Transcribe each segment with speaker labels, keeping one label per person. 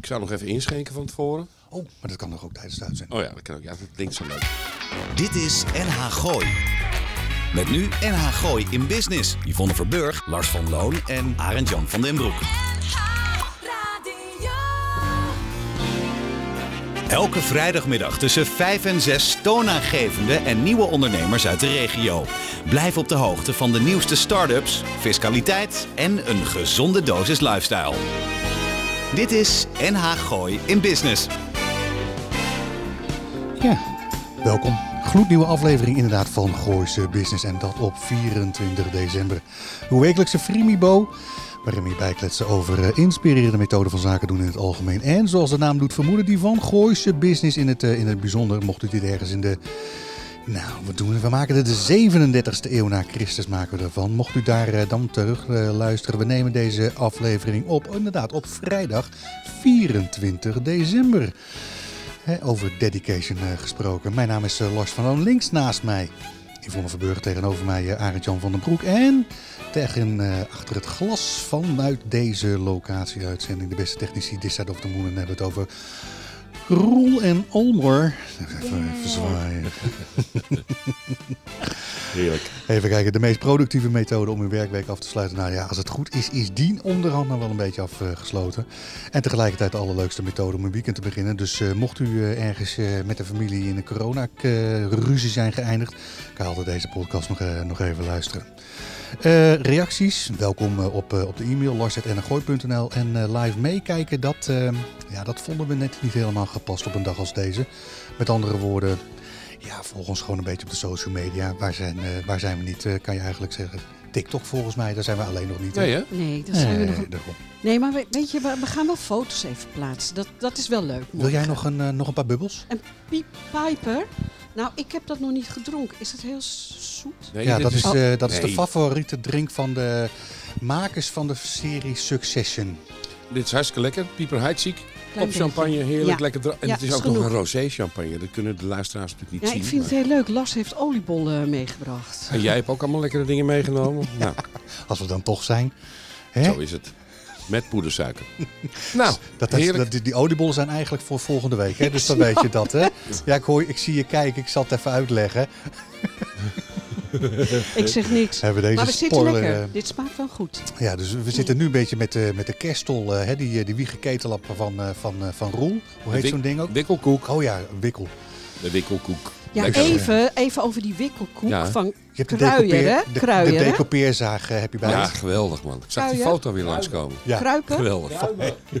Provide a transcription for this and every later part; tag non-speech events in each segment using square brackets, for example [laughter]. Speaker 1: zou nog even inschenken van tevoren.
Speaker 2: Oh, maar dat kan nog ook tijdens de uitzending.
Speaker 1: Oh ja, dat kan ook. Ja, dat klinkt zo leuk.
Speaker 3: Oh. Dit is NH Gooi. Met nu NH Gooi in Business. Yvonne Verburg, Lars van Loon en Arend Jan van den Broek.
Speaker 4: Radio.
Speaker 3: Elke vrijdagmiddag tussen 5 en 6 toonaangevende en nieuwe ondernemers uit de regio. Blijf op de hoogte van de nieuwste start-ups, fiscaliteit en een gezonde dosis lifestyle. Dit is NH Gooi in Business.
Speaker 2: Ja. Welkom. Gloednieuwe aflevering inderdaad van Gooise Business en dat op 24 december. Uw wekelijkse Frimibo, waarin we je bijkletsen over eh, inspirerende methoden van zaken doen in het algemeen. En zoals de naam doet vermoeden, die van Gooise Business in het, eh, in het bijzonder. Mocht u dit ergens in de Nou, wat doen we? We maken het de 37e eeuw na Christus maken we ervan. Mocht u daar eh, dan terug eh, luisteren, we nemen deze aflevering op inderdaad op vrijdag 24 december. Hè, over dedication eh, gesproken. Mijn naam is eh, Lars van Loon, links naast mij. Yvonne Verburg tegenover mij, eh, Arend-Jan van den Broek. En tegen eh, achter het glas vanuit deze locatie-uitzending. De beste technici, This Side of the Moon. En dan hebben we het over Roel en Olmer. Even, even zwaaien.
Speaker 1: Heerlijk.
Speaker 2: Even kijken, de meest productieve methode om uw werkweek af te sluiten. Nou ja, als het goed is, is die onderhand nog wel een beetje afgesloten. En tegelijkertijd de allerleukste methode om uw weekend te beginnen. Dus eh, mocht u eh, ergens eh, met de familie in een corona-ruzie zijn geëindigd, kan je altijd deze podcast nog, eh, nog even luisteren. Eh, reacties, welkom eh, op, eh, op de e-mail lars.ngooi.nl en eh, live meekijken, dat, eh, ja, dat vonden we net niet helemaal gepast op een dag als deze. Met andere woorden, ja, volg ons gewoon een beetje op de social media. Waar zijn, eh, waar zijn we niet, eh, kan je eigenlijk zeggen. TikTok volgens mij, daar zijn we alleen nog niet.
Speaker 1: Nee, hè?
Speaker 5: Nee, dat zijn we nog.
Speaker 2: Eh, daarom.
Speaker 5: Nee, maar we- weet je, we, we gaan wel foto's even plaatsen. Dat, dat is wel leuk.
Speaker 2: Wil jij
Speaker 5: morgen.
Speaker 2: nog een, eh, nog een paar bubbels?
Speaker 5: En Piep Piper. Nou, ik heb dat nog niet gedronken. Is het heel s- zoet?
Speaker 1: Nee,
Speaker 2: Ja,
Speaker 1: dit
Speaker 2: dat is, eh, dat is de
Speaker 1: Nee.
Speaker 2: favoriete drink van de makers van de serie Succession.
Speaker 1: Dit is hartstikke lekker. Pieper Heidsieck.
Speaker 5: Klein
Speaker 1: Op champagne,
Speaker 5: beetje.
Speaker 1: heerlijk
Speaker 5: Ja.
Speaker 1: lekker. dra- En
Speaker 5: Ja,
Speaker 1: het is
Speaker 5: is
Speaker 1: ook nog
Speaker 5: genoeg.
Speaker 1: een rosé champagne. Dat kunnen de luisteraars natuurlijk niet
Speaker 5: Ja,
Speaker 1: zien.
Speaker 5: ik vind het
Speaker 1: maar-
Speaker 5: heel leuk. Lars heeft oliebollen eh, meegebracht.
Speaker 1: En jij hebt ook allemaal lekkere dingen meegenomen.
Speaker 2: [laughs]
Speaker 1: Nou,
Speaker 2: Als we dan toch zijn. Hè?
Speaker 1: zo is het. Met
Speaker 2: [laughs]
Speaker 1: poedersuiker. nou,
Speaker 2: Dat, dat,
Speaker 1: heerlijk.
Speaker 2: dat- die, die oliebollen zijn eigenlijk voor volgende week.
Speaker 1: [laughs]
Speaker 2: Hè? Dus dan weet je dat. Hè? Ja, ik, hoor, ik zie je kijken. Ik zal het even uitleggen.
Speaker 5: Ik zeg niks.
Speaker 2: Hebben we deze
Speaker 5: maar we zitten
Speaker 2: spoiler,
Speaker 5: lekker.
Speaker 2: eh,
Speaker 5: Dit smaakt wel goed.
Speaker 2: Ja, dus we zitten nu een beetje met, eh, met de kerstol. eh, hè? Die, eh, die wiegenketelap van, eh, van, eh, van Roel. Hoe heet
Speaker 1: Wik-
Speaker 2: zo'n ding ook?
Speaker 1: Wikkelkoek.
Speaker 2: Oh ja, wikkel.
Speaker 1: De wikkelkoek.
Speaker 5: Ja,
Speaker 1: Lekker.
Speaker 5: even, even over die wikkelkoek
Speaker 1: Ja.
Speaker 5: van
Speaker 2: Je hebt de,
Speaker 5: Kruier, hè?
Speaker 2: decoupeer- de,
Speaker 5: Kruier,
Speaker 2: de
Speaker 5: hè?
Speaker 2: decoupeerzaag eh, heb je bij
Speaker 1: Ja,
Speaker 2: je.
Speaker 1: geweldig man. Ik zag die
Speaker 5: Kruier.
Speaker 1: foto weer langskomen.
Speaker 2: Ja.
Speaker 5: Kruipen.
Speaker 1: Geweldig.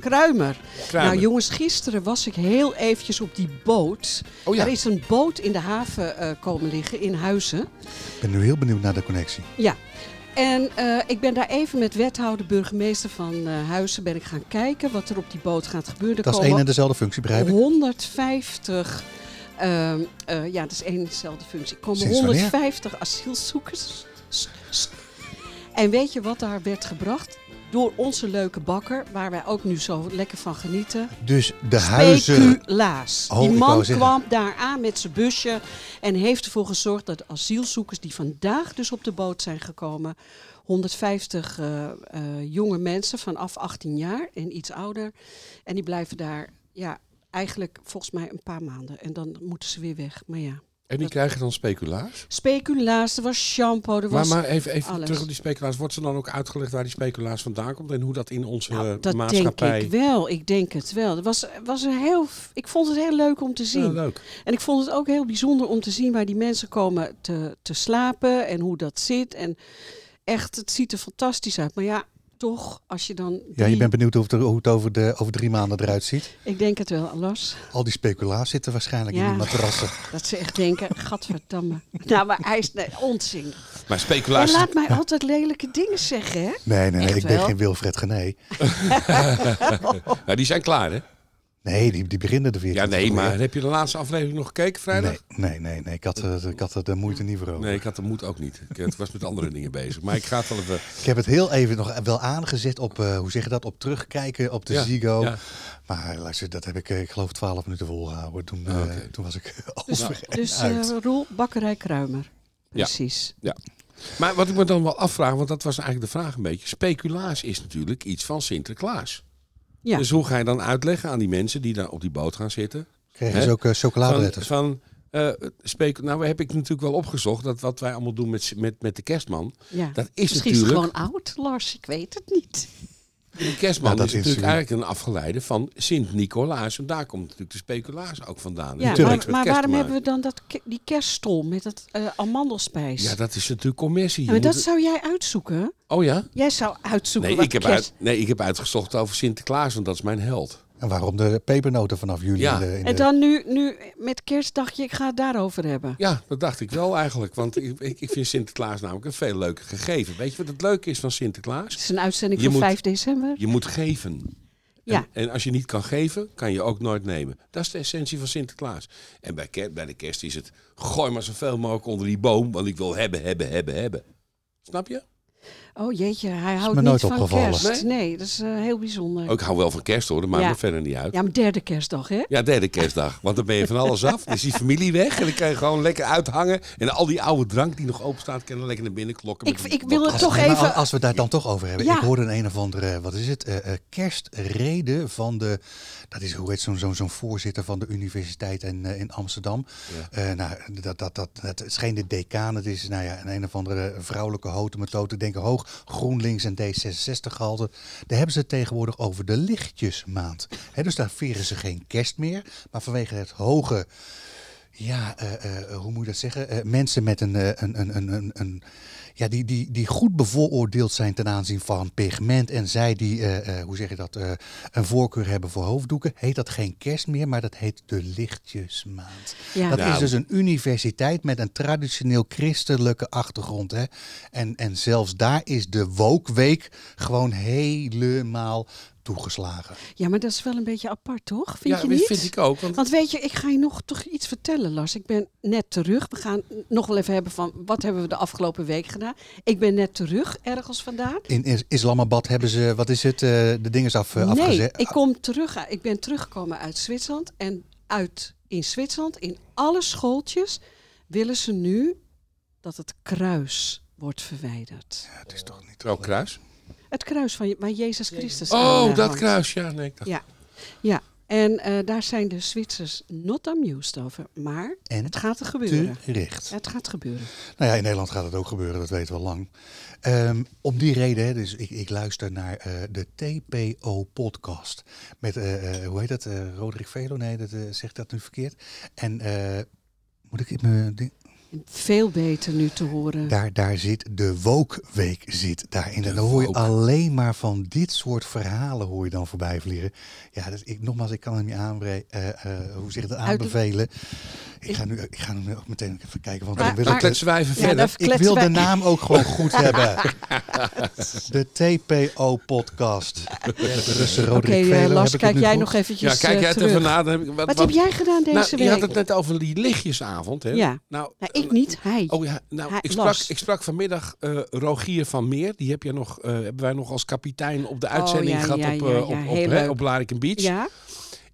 Speaker 5: Kruimer.
Speaker 1: Kruimer.
Speaker 5: Nou jongens, gisteren was ik heel eventjes op die boot.
Speaker 1: Oh ja.
Speaker 5: Er is een boot in de haven eh, komen liggen in Huizen.
Speaker 2: Ik ben nu heel benieuwd naar de connectie.
Speaker 5: Ja. En eh, ik ben daar even met wethouder, burgemeester van eh, Huizen ben ik gaan kijken wat er op die boot gaat gebeuren. Er
Speaker 2: Dat is
Speaker 5: komen
Speaker 2: één en dezelfde functie, begrijp
Speaker 5: Oh.
Speaker 2: ik.
Speaker 5: 150, ehm, eh, ja, dat is één en dezelfde functie. Er komen
Speaker 2: Sinds wanneer?
Speaker 5: 150 asielzoekers. S- s- En weet je wat daar werd gebracht? Door onze leuke bakker, waar wij ook nu zo lekker van genieten.
Speaker 2: Dus de huizen.
Speaker 5: Speculaas.
Speaker 2: Oh,
Speaker 5: die
Speaker 2: ik
Speaker 5: man
Speaker 2: wou zeggen.
Speaker 5: kwam daar aan met zijn busje en heeft ervoor gezorgd dat de asielzoekers die vandaag dus op de boot zijn gekomen, 150 eh, eh, jonge mensen vanaf 18 jaar en iets ouder, en die blijven daar, ja, eigenlijk volgens mij een paar maanden en dan moeten ze weer weg. Maar ja,
Speaker 1: En die krijgen dan speculaars?
Speaker 5: speculaas, er was shampoo,
Speaker 1: Maar,
Speaker 5: er was...
Speaker 1: maar even, even
Speaker 5: alles.
Speaker 1: terug op die speculaars. Wordt ze dan ook uitgelegd waar die speculaars vandaan komt en hoe dat in onze
Speaker 5: Nou,
Speaker 1: eh,
Speaker 5: dat
Speaker 1: maatschappij...
Speaker 5: denk ik wel. Ik denk het wel. Het was, was een heel, ik vond het heel leuk om te zien.
Speaker 1: Ja, leuk.
Speaker 5: En ik vond het ook heel bijzonder om te zien waar die mensen komen te, te slapen en hoe dat zit. En echt, het ziet er fantastisch uit. Maar ja, toch, als je dan.
Speaker 2: Ja, je
Speaker 5: die-
Speaker 2: bent benieuwd hoe het, er- hoe het over, de, over drie maanden eruit ziet.
Speaker 5: Ik denk het wel, Lars.
Speaker 2: Al die speculaas zitten waarschijnlijk in
Speaker 5: Ja.
Speaker 2: die matrassen.
Speaker 5: Dat ze echt denken: [laughs]
Speaker 1: [laughs]
Speaker 5: gadverdamme. Nou, maar hij is nee, onzin.
Speaker 1: Maar
Speaker 5: Hij
Speaker 1: speculaars...
Speaker 5: laat mij altijd lelijke dingen zeggen, hè?
Speaker 2: Nee, nee, nee.
Speaker 5: Echt
Speaker 2: Ik ben
Speaker 5: wel?
Speaker 2: geen Wilfred Gené.
Speaker 1: Nou, die zijn klaar hè?
Speaker 2: Nee, die, die beginnen er weer.
Speaker 1: Ja, nee, maar heb je de laatste aflevering nog gekeken vrijdag?
Speaker 2: Nee, nee, nee. nee. Ik, had, eh, ik had er de moeite niet voor over.
Speaker 1: Nee, ik had de moed ook niet. Ik eh, het was met andere dingen bezig. Maar ik ga het wel even...
Speaker 2: Ik heb het heel even nog wel aangezet op, eh, hoe zeg je dat, op terugkijken op de
Speaker 1: Ja,
Speaker 2: Ziggo.
Speaker 1: ja.
Speaker 2: Maar luister, dat heb ik, eh, ik geloof, twaalf minuten volgehouden. Toen, eh,
Speaker 1: Ah, Oké.
Speaker 2: toen was ik [laughs] al
Speaker 5: Dus,
Speaker 2: vergeten
Speaker 5: dus eh,
Speaker 2: uit.
Speaker 5: Roel, bakkerij Kruimer. Precies.
Speaker 1: Ja. Maar wat ik me dan wel afvraag, want dat was eigenlijk de vraag een beetje. Speculaas is natuurlijk iets van Sinterklaas.
Speaker 5: Ja.
Speaker 1: Dus hoe ga je dan uitleggen aan die mensen die daar op die boot gaan zitten?
Speaker 2: Kregen ze
Speaker 1: Hè?
Speaker 2: ook eh,
Speaker 1: Van,
Speaker 2: chocoladeletters?
Speaker 1: van eh, spekel- nou heb ik natuurlijk wel opgezocht dat wat wij allemaal doen met, s- met, met de kerstman.
Speaker 5: Ja.
Speaker 1: Dat is
Speaker 5: Misschien
Speaker 1: natuurlijk.
Speaker 5: is het gewoon oud, Lars. Ik weet het niet.
Speaker 1: De kerstman
Speaker 2: Nou, dat
Speaker 1: is natuurlijk
Speaker 2: is-
Speaker 1: eigenlijk een afgeleide van Sint-Nicolaas. En daar komt natuurlijk de speculaas ook vandaan.
Speaker 5: Ja,
Speaker 1: Dat
Speaker 2: Tuurlijk.
Speaker 1: heeft met
Speaker 5: maar, maar
Speaker 1: kerst
Speaker 5: waarom
Speaker 1: te
Speaker 5: hebben we
Speaker 1: maken.
Speaker 5: dan dat, ke- die kerststol met dat eh, amandelspijs?
Speaker 1: Ja, dat is natuurlijk commercie.
Speaker 5: Ja,
Speaker 1: Je
Speaker 5: maar
Speaker 1: moet
Speaker 5: dat
Speaker 1: het-
Speaker 5: zou jij uitzoeken?
Speaker 1: Oh ja?
Speaker 5: Jij zou uitzoeken
Speaker 1: Nee
Speaker 5: wat
Speaker 1: ik, heb
Speaker 5: kerst...
Speaker 1: uit, nee, ik heb uitgezocht over Sinterklaas, want dat is mijn held.
Speaker 2: En waarom de pepernoten vanaf juli?
Speaker 1: Ja.
Speaker 2: in de- in
Speaker 5: En
Speaker 2: de-
Speaker 5: dan nu, nu met kerst dacht je, ik ga het daarover hebben.
Speaker 1: Ja, dat dacht ik wel eigenlijk. Want ik, ik ik vind Sinterklaas namelijk een veel leuker gegeven. Weet je wat het leuke is van Sinterklaas?
Speaker 5: Het is een uitzending
Speaker 1: Je
Speaker 5: van
Speaker 1: moet-
Speaker 5: 5 december.
Speaker 1: Je moet geven.
Speaker 5: Ja,
Speaker 1: En, en als je niet kan geven, kan je ook nooit nemen. Dat is de essentie van Sinterklaas. En bij, ker- bij de kerst is het, gooi maar zoveel mogelijk onder die boom, want ik wil hebben, hebben, hebben, hebben. Snap je?
Speaker 5: oh jeetje, hij houdt
Speaker 2: me
Speaker 5: niet
Speaker 2: nooit
Speaker 5: van
Speaker 2: opgevallen.
Speaker 5: kerst. Nee, dat is eh, heel bijzonder.
Speaker 1: Ook, ik hou wel van kerst hoor, dat maakt
Speaker 5: Ja.
Speaker 1: me verder niet uit. Ja.
Speaker 5: Ja, maar derde kerstdag, hè?
Speaker 1: derde kerstdag. Want dan ben je van alles af. Dan is die familie weg. En dan kan je gewoon lekker uithangen. En al die oude drank die nog open staat, kan je lekker naar binnen klokken.
Speaker 5: Ik,
Speaker 1: met een
Speaker 5: ik wil het
Speaker 2: Als-
Speaker 5: toch
Speaker 2: nee, maar
Speaker 5: even...
Speaker 2: Als we het daar dan toch over hebben.
Speaker 5: Ja.
Speaker 2: Ik hoorde een een of andere, wat is het, eh, eh, kerstreden van de, dat is hoe heet zo'n zo'n zo'n voorzitter van de universiteit in, eh, in Amsterdam. Eh, nou, dat, dat, dat, dat, het is geen de decaan, het is nou ja, een een of andere vrouwelijke houten methode. Denken hoog, GroenLinks en D66 gehalte. Daar hebben ze het tegenwoordig over de lichtjesmaand. Hè, dus daar vieren ze geen kerst meer, maar vanwege het hoge ja, eh, eh, hoe moet je dat zeggen? Eh, mensen met een, eh, een, een, een, een, een- ja, die, die, die goed bevooroordeeld zijn ten aanzien van pigment. En zij die, eh, eh, hoe zeg je dat, eh, een voorkeur hebben voor hoofddoeken, heet dat geen kerst meer, maar dat heet de lichtjesmaand.
Speaker 5: Ja.
Speaker 2: Dat
Speaker 1: Nou.
Speaker 2: is dus een universiteit met een traditioneel christelijke achtergrond. Hè? En, en zelfs daar is de wokweek gewoon helemaal toegeslagen.
Speaker 5: Ja, maar dat is wel een beetje apart, toch? Vind
Speaker 1: ja,
Speaker 5: je
Speaker 1: dat
Speaker 5: niet?
Speaker 1: vind ik ook. Want
Speaker 5: Want weet je, ik ga je nog toch iets vertellen, Lars. Ik ben net terug. We gaan nog wel even hebben van wat hebben we de afgelopen week gedaan. Ik ben net terug, ergens vandaan.
Speaker 2: In Is- Islamabad hebben ze, wat is het, eh, de dingen is af, eh,
Speaker 5: nee,
Speaker 2: afgezet.
Speaker 5: ik, kom terug, ik ben teruggekomen uit Zwitserland. En uit, in Zwitserland, in alle schooltjes, willen ze nu dat het kruis wordt verwijderd.
Speaker 2: Ja, Ah, het is toch niet
Speaker 1: Trouw kruis.
Speaker 5: Het kruis van, je- waar Jezus Christus aan,
Speaker 1: Oh,
Speaker 5: eh,
Speaker 1: dat
Speaker 5: hangt.
Speaker 1: kruis. Ja, nee, ik dacht.
Speaker 5: Ja, ja. En eh, daar zijn de Zwitsers not amused over. Maar
Speaker 2: En
Speaker 5: het gaat er gebeuren.
Speaker 2: terecht.
Speaker 5: Het gaat gebeuren.
Speaker 2: Nou ja, in Nederland gaat het ook gebeuren, dat weten we al lang. Ehm, om die reden, hè, dus ik, ik luister naar eh, de TPO-podcast. Met, eh, eh, hoe heet dat, eh Roderick Velo? Nee, dat, eh, zegt dat nu verkeerd. En eh, moet ik het me... ding-
Speaker 5: Veel beter nu te horen.
Speaker 2: Daar, daar zit de Wokweek zit daarin. En
Speaker 1: De
Speaker 2: dan hoor je
Speaker 1: woke.
Speaker 2: alleen maar van dit soort verhalen hoor je dan voorbij vliegen. Ja, dus ik, nogmaals, ik kan hem je aanbre- eh, eh, hoe zeg je dat, aanbevelen. Ik ga, nu, ik ga nu ook meteen even kijken, want
Speaker 5: Maar-
Speaker 2: dan wil
Speaker 1: Dan
Speaker 2: ik...
Speaker 1: kletsen wij even
Speaker 5: Ja,
Speaker 1: verder.
Speaker 5: dat-
Speaker 2: Ik
Speaker 5: kletsen
Speaker 2: wil de
Speaker 5: wij-
Speaker 2: naam ook gewoon
Speaker 5: [laughs]
Speaker 2: goed hebben. De TPO-podcast. Russen
Speaker 5: Oké,
Speaker 2: Roderick
Speaker 5: eh,
Speaker 2: Velo,
Speaker 5: Lars,
Speaker 2: heb ik het
Speaker 5: kijk
Speaker 2: nu
Speaker 5: jij
Speaker 2: goed?
Speaker 5: nog eventjes
Speaker 1: Ja, kijk
Speaker 5: eh,
Speaker 1: jij het
Speaker 5: terug.
Speaker 1: even na. dan heb ik-
Speaker 5: Wat heb jij gedaan
Speaker 1: Nou,
Speaker 5: deze
Speaker 1: je had
Speaker 5: week?
Speaker 1: het net over die lichtjesavond, hè?
Speaker 5: Ja.
Speaker 1: Nou,
Speaker 5: Nou, ik niet, hij.
Speaker 1: Oh ja, nou,
Speaker 5: Hij-
Speaker 1: ik sprak,
Speaker 5: Lars.
Speaker 1: ik sprak vanmiddag eh, Rogier van Meer. Die heb je nog, eh, hebben wij nog als kapitein op de
Speaker 5: Oh,
Speaker 1: uitzending
Speaker 5: ja,
Speaker 1: gehad
Speaker 5: ja,
Speaker 1: op,
Speaker 5: ja,
Speaker 1: eh,
Speaker 5: ja,
Speaker 1: op, op,
Speaker 5: heel
Speaker 1: hè,
Speaker 5: leuk.
Speaker 1: op Blariken Beach.
Speaker 5: ja,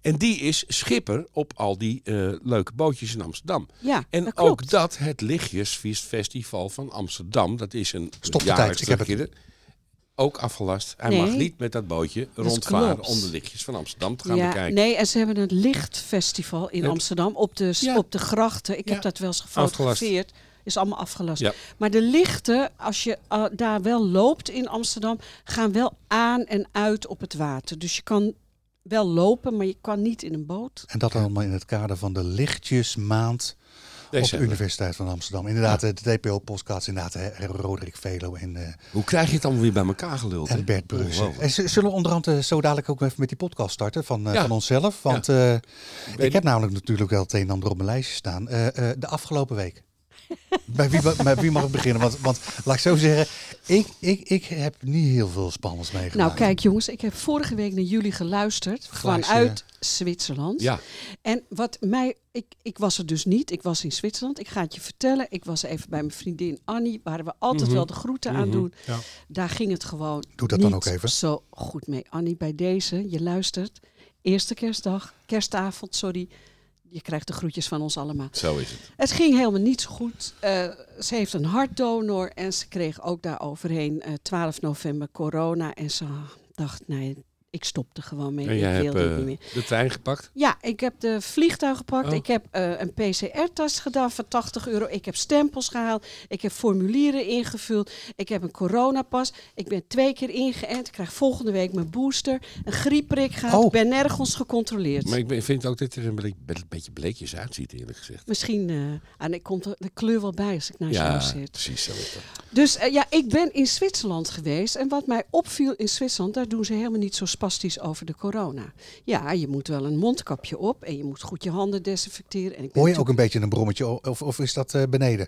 Speaker 1: En die is schipper op al die eh, leuke bootjes in Amsterdam.
Speaker 5: ja,
Speaker 1: En
Speaker 5: dat klopt.
Speaker 1: ook dat, het Lichtjesfestival van Amsterdam, dat is een
Speaker 2: Stop de
Speaker 1: jaarlijks
Speaker 2: tijd, ik heb het.
Speaker 1: terugkerende, Ook afgelast. Hij
Speaker 5: Nee.
Speaker 1: mag niet met dat bootje rondvaren
Speaker 5: klopt.
Speaker 1: om de lichtjes van Amsterdam te gaan
Speaker 5: ja,
Speaker 1: bekijken.
Speaker 5: Nee, en ze hebben een lichtfestival in
Speaker 1: Het-
Speaker 5: Amsterdam op de, s-
Speaker 1: Ja.
Speaker 5: op de grachten. Ik
Speaker 1: Ja.
Speaker 5: heb dat wel eens
Speaker 1: Afgelast.
Speaker 5: gefotografeerd. Is allemaal afgelast.
Speaker 1: Ja.
Speaker 5: Maar de lichten, als je eh, daar wel loopt in Amsterdam, gaan wel aan en uit op het water. Dus je kan wel lopen, maar je kan niet in een boot.
Speaker 2: En dat allemaal in het kader van de Lichtjesmaand op de
Speaker 1: December.
Speaker 2: Universiteit van Amsterdam. Inderdaad, eh, de TPO-podcast, inderdaad, hè, Roderick Velo en, eh,
Speaker 1: Hoe krijg je het allemaal weer bij elkaar geluld? hè?
Speaker 2: en Bert Brussen.
Speaker 1: Ongelooflijk.
Speaker 2: En z- zullen we onderhand eh, zo dadelijk ook even met die podcast starten van, eh,
Speaker 1: Ja.
Speaker 2: van onszelf? Want eh, ik
Speaker 1: Weet-
Speaker 2: heb namelijk natuurlijk wel het een en ander op mijn lijstje staan. Eh, eh, de afgelopen week. [laughs] bij, wie, bij wie mag ik beginnen? Want, want laat ik zo zeggen, ik, ik, ik heb niet heel veel spannends meegemaakt.
Speaker 5: Nou, kijk jongens, ik heb vorige week naar jullie geluisterd
Speaker 2: Glaasje.
Speaker 5: vanuit Zwitserland.
Speaker 1: Ja,
Speaker 5: En wat mij, ik, ik was er dus niet, ik was in Zwitserland. Ik ga het je vertellen, ik was even bij mijn vriendin Annie, waar we altijd
Speaker 1: Mhm.
Speaker 5: wel de groeten aan doen.
Speaker 1: Ja.
Speaker 5: Daar ging het gewoon
Speaker 2: Doe dat
Speaker 5: niet
Speaker 2: dan ook even.
Speaker 5: zo goed mee. Annie, bij deze, je luistert. Eerste kerstdag, kerstavond, sorry. Je krijgt de groetjes van ons allemaal.
Speaker 1: zo is het.
Speaker 5: Het ging helemaal niet zo goed. Eh, ze heeft een hartdonor en ze kreeg ook daar overheen eh, 12 november corona. En ze dacht, nee, ik stopte gewoon mee.
Speaker 1: En
Speaker 5: ik
Speaker 1: jij hebt
Speaker 5: wilde het
Speaker 1: eh,
Speaker 5: niet meer.
Speaker 1: de trein gepakt.
Speaker 5: Ja, ik heb de vliegtuig gepakt.
Speaker 1: Oh.
Speaker 5: Ik heb eh, een PCR-test gedaan van 80 euro. Ik heb stempels gehaald. Ik heb formulieren ingevuld. Ik heb een coronapas. Ik ben twee keer ingeënt. Ik krijg volgende week mijn booster. Een griepprik gehad.
Speaker 2: Oh.
Speaker 5: Ik ben nergens gecontroleerd.
Speaker 1: Maar ik ben- vind ook dat je er een bleek- be- beetje bleekjes uitziet, eerlijk gezegd.
Speaker 5: Misschien, eh, en ik komt er de kleur wel bij als ik naast jou
Speaker 1: Ja,
Speaker 5: zit.
Speaker 1: precies zo. is dat.
Speaker 5: Dus eh, ja, ik ben in Zwitserland geweest. En wat mij opviel in Zwitserland, daar doen ze helemaal niet zo spastisch over de corona. Ja, je moet wel een mondkapje op en je moet goed je handen desinfecteren. En ik ben
Speaker 2: Hoor je
Speaker 5: natuurlijk-
Speaker 2: ook een beetje een brommetje o- of, of is dat eh, beneden?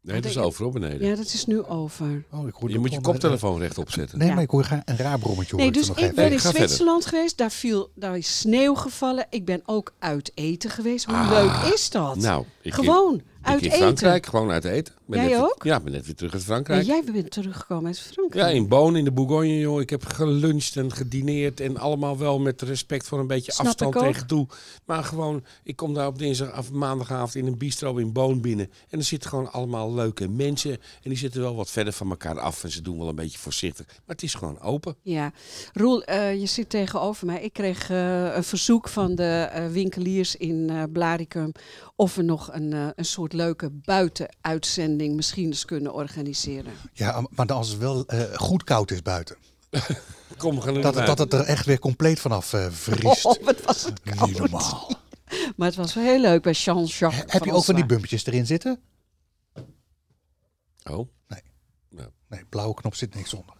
Speaker 1: Nee, dat is overal beneden.
Speaker 5: Ja, dat is nu over.
Speaker 2: Oh, ik hoor
Speaker 1: Je
Speaker 2: dat
Speaker 1: moet je
Speaker 2: gewoon-
Speaker 1: koptelefoon rechtop zetten.
Speaker 2: Nee,
Speaker 5: Ja.
Speaker 2: maar ik hoor ga- een raar brommetje.
Speaker 5: Nee,
Speaker 2: hoor
Speaker 5: dus
Speaker 2: ik
Speaker 5: ik
Speaker 2: nog
Speaker 5: ben
Speaker 1: Nee,
Speaker 5: in
Speaker 1: ga verder.
Speaker 5: Zwitserland geweest. Daar, viel, daar is sneeuw gevallen. Ik ben ook uit eten geweest. Hoe
Speaker 1: Ah,
Speaker 5: leuk is dat?
Speaker 1: Nou, ik
Speaker 5: Gewoon
Speaker 1: in,
Speaker 5: uit
Speaker 1: ik in
Speaker 5: eten.
Speaker 1: Frankrijk, gewoon uit eten. Ben
Speaker 5: Jij
Speaker 1: net weer-
Speaker 5: ook?
Speaker 1: ja, ben net weer terug uit
Speaker 5: En
Speaker 1: Frankrijk.
Speaker 5: jij bent teruggekomen uit
Speaker 1: Ja,
Speaker 5: Frankrijk.
Speaker 1: in Boon, in de Bourgogne, joh. Ik heb geluncht en gedineerd en allemaal wel met respect voor een beetje
Speaker 5: Snap
Speaker 1: afstand
Speaker 5: ik ook.
Speaker 1: tegen toe. Maar gewoon, ik kom daar op dinsdag af, maandagavond in een bistro in Boon binnen. En er zitten gewoon allemaal leuke mensen. En die zitten wel wat verder van elkaar af en ze doen wel een beetje voorzichtig. Maar het is gewoon open.
Speaker 5: Ja. Roel, eh, je zit tegenover mij. Ik kreeg eh, een verzoek van de eh, winkeliers in eh Blaricum of we nog een, eh, een soort leuke buitenuitzending misschien eens kunnen organiseren.
Speaker 2: Ja, maar dan als het wel eh, goed koud is buiten.
Speaker 1: Kom, we gaan er
Speaker 2: Dat,
Speaker 1: weer
Speaker 2: dat
Speaker 1: uit.
Speaker 2: het er echt weer compleet vanaf eh vriest.
Speaker 5: Oh, wat was het koud.
Speaker 2: Niet normaal.
Speaker 5: [laughs] Maar het was wel heel leuk bij Jean-Jacques.
Speaker 2: Heb je ook van die bumpetjes erin zitten?
Speaker 1: Oh,
Speaker 2: Nee, blauwe knop zit niks onder.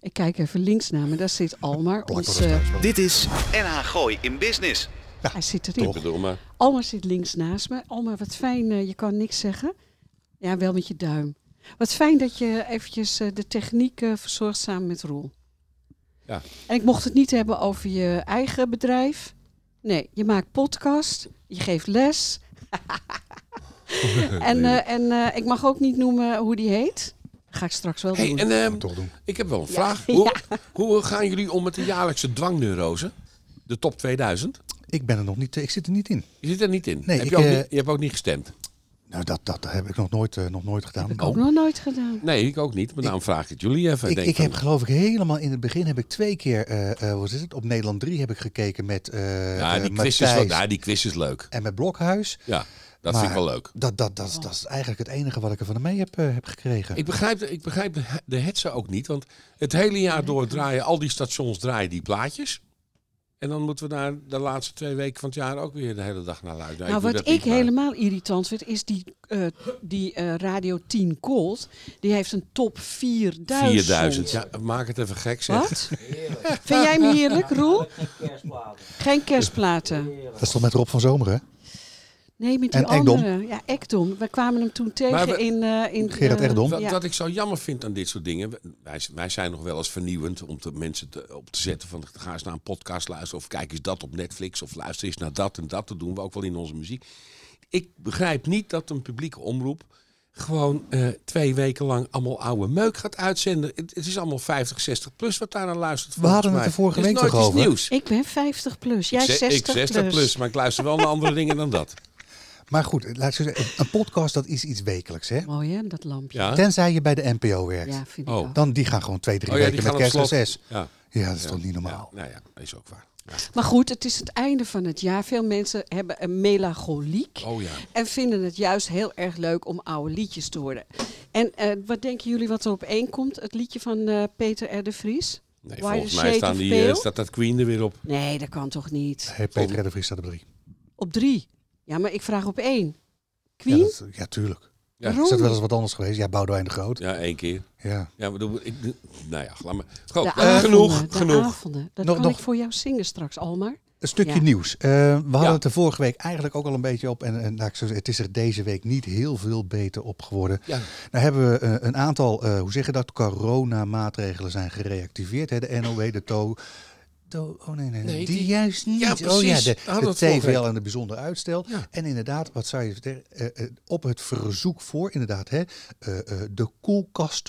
Speaker 5: Ik kijk even links naar me, daar zit Almar.
Speaker 2: Plak
Speaker 5: Ons,
Speaker 2: er
Speaker 5: eh,
Speaker 2: thuis wel.
Speaker 3: Dit is NH Gooi in Business.
Speaker 5: hij zit
Speaker 1: ik
Speaker 5: erin.
Speaker 1: bedoel maar.
Speaker 5: Almar zit links naast me. Almar, wat fijn, eh, je kan niks zeggen. Ja, wel met je duim. Wat fijn dat je eventjes eh, de techniek eh, verzorgt samen met Roel.
Speaker 1: Ja.
Speaker 5: En ik mocht het niet hebben over je eigen bedrijf. Nee, je maakt podcast, je geeft
Speaker 1: [laughs]
Speaker 5: les. en eh, en eh, ik mag ook niet noemen hoe die heet. Ga ik straks wel
Speaker 1: Hey,
Speaker 5: doen.
Speaker 1: en ehm,
Speaker 2: Moet toch doen.
Speaker 1: ik heb wel een
Speaker 5: [laughs]
Speaker 1: vraag. Hoe, hoe gaan jullie om met de jaarlijkse dwangneurose? De top 2000?
Speaker 2: Ik ben er nog niet, eh, ik zit er niet in.
Speaker 1: Je zit er niet in.
Speaker 2: Nee,
Speaker 1: heb
Speaker 2: ik,
Speaker 1: je, ook
Speaker 2: eh,
Speaker 1: niet, je hebt ook niet gestemd.
Speaker 2: Nou, dat, dat heb ik nog nooit, eh, nog nooit gedaan.
Speaker 5: Ook nog nooit gedaan.
Speaker 1: Nee, ik ook niet. Maar daarom vraag ik het jullie even.
Speaker 2: Ik,
Speaker 1: denk
Speaker 2: ik
Speaker 1: van-
Speaker 2: heb geloof ik helemaal in het begin heb ik twee keer, eh eh wat is het, op Nederland 3 heb ik gekeken met eh
Speaker 1: Ja,
Speaker 2: eh,
Speaker 1: die quiz, is,
Speaker 2: Matthijs
Speaker 1: wel- ja, die quiz is leuk.
Speaker 2: en met Blokhuis.
Speaker 1: Ja, dat vind
Speaker 2: Maar
Speaker 1: ik wel leuk.
Speaker 2: Dat, dat, dat, dat is eigenlijk het enige wat ik ervan mee heb, eh, heb gekregen.
Speaker 1: Oh. Ik begrijp, de- ik begrijp de he- de hetze ook niet. Want het hele jaar door draaien, al die stations draaien die plaatjes. En dan moeten we daar de laatste twee weken van het jaar ook weer de hele dag naar luisteren.
Speaker 5: nou,
Speaker 1: doe
Speaker 5: wat
Speaker 1: dat
Speaker 5: ik
Speaker 1: niet, maar-
Speaker 5: helemaal irritant vind, is die, eh, die eh, Radio 10 Cold. Die heeft een top 4000.
Speaker 1: 4000. Ja, maak het even gek zeg.
Speaker 5: Wat? Vind jij hem heerlijk, Roel? Geen kerstplaten.
Speaker 2: dat is toch met Rob van Zomeren? hè?
Speaker 5: Nee, met die
Speaker 2: En Ekdom.
Speaker 5: andere. Ja, Ekdom. We kwamen hem toen tegen
Speaker 1: Maar we-
Speaker 5: in... eh in
Speaker 2: Gerard
Speaker 5: eh,
Speaker 2: Ekdom.
Speaker 1: Wat,
Speaker 5: ja.
Speaker 1: wat ik zo jammer vind aan dit soort dingen, wij, wij zijn nog wel eens vernieuwend om te, mensen te, op te zetten van ga eens naar een podcast luisteren of kijk eens dat op Netflix of luister eens naar dat en dat. Dat doen we ook wel in onze muziek. Ik begrijp niet dat een publieke omroep gewoon eh, twee weken lang allemaal oude meuk gaat uitzenden. Het, het is allemaal 50, 60 plus wat daar naar luistert.
Speaker 2: We hadden
Speaker 1: volgens mij.
Speaker 2: het er vorige
Speaker 1: Er is
Speaker 2: week
Speaker 1: nooit
Speaker 2: toch
Speaker 1: iets
Speaker 2: over?
Speaker 1: Nieuws.
Speaker 5: Ik ben 50 plus. Jij
Speaker 1: ik, ze-
Speaker 5: 60,
Speaker 1: ik 60 plus.
Speaker 5: plus.
Speaker 1: maar ik luister wel naar andere dingen dan dat.
Speaker 2: Maar goed, laat ik zo zeggen, een podcast dat is iets wekelijks. Hè?
Speaker 5: Mooi hè, dat lampje.
Speaker 1: Ja.
Speaker 2: Tenzij je bij de NPO werkt.
Speaker 5: Ja, vind ik
Speaker 1: Oh.
Speaker 5: ook.
Speaker 2: Dan die gaan gewoon twee, drie
Speaker 1: ja,
Speaker 2: weken met kerstreces.
Speaker 1: Ja.
Speaker 2: Ja, dat is toch niet normaal.
Speaker 1: Nou ja, dat is ook waar. Ja.
Speaker 5: Maar goed, het is het einde van het jaar. Veel mensen hebben een melancholiek.
Speaker 1: Oh ja.
Speaker 5: En vinden het juist heel erg leuk om oude liedjes te horen. En eh, wat denken jullie wat er op één komt? Het liedje van eh, Peter R. de Vries?
Speaker 1: Nee,
Speaker 5: Why
Speaker 1: volgens
Speaker 5: the
Speaker 1: mij
Speaker 5: Shade
Speaker 1: staan
Speaker 5: of
Speaker 1: die,
Speaker 5: Pale?
Speaker 1: eh, staat dat Queen er weer op.
Speaker 5: Nee, dat kan toch niet?
Speaker 2: Hey, Peter R. de Vries staat op drie.
Speaker 5: Op drie. Ja, maar ik vraag op één.
Speaker 2: Ja,
Speaker 5: Queen?
Speaker 2: dat- ja, tuurlijk.
Speaker 1: Ja,
Speaker 2: Is dat
Speaker 5: Waarom?
Speaker 2: wel eens wat anders geweest? Ja, Boudewijn de Groot.
Speaker 1: Ja, één keer.
Speaker 2: Ja.
Speaker 1: Ja, bedoel, ik, nou ja, laat maar. Goed,
Speaker 5: De
Speaker 1: eh,
Speaker 5: avonden,
Speaker 1: genoeg,
Speaker 5: de
Speaker 1: genoeg.
Speaker 5: avonden. Dat
Speaker 2: Nog-
Speaker 5: kan
Speaker 2: nog-
Speaker 5: ik voor jou zingen straks, Almar.
Speaker 2: Een stukje
Speaker 5: Ja.
Speaker 2: nieuws. Eh, we hadden
Speaker 1: Ja.
Speaker 2: het er vorige week eigenlijk ook al een beetje op. En, en laat ik zo zeggen, het is er deze week niet heel veel beter op geworden.
Speaker 1: Ja.
Speaker 2: Nou hebben we eh, een aantal, eh, hoe zeg je dat, coronamaatregelen zijn gereactiveerd. Hè? De NOW, de TO, To- oh nee, nee, nee.
Speaker 1: Nee,
Speaker 2: die,
Speaker 1: die-
Speaker 2: juist niet.
Speaker 1: Ja,
Speaker 2: Oh ja,
Speaker 1: precies.
Speaker 2: de,
Speaker 1: Daar hadden
Speaker 2: de
Speaker 1: we het vorige
Speaker 2: TVL en de bijzonder uitstel.
Speaker 1: Ja.
Speaker 2: En inderdaad, wat zou je vertellen, eh, eh, op het verzoek voor, inderdaad, hè, eh, eh, de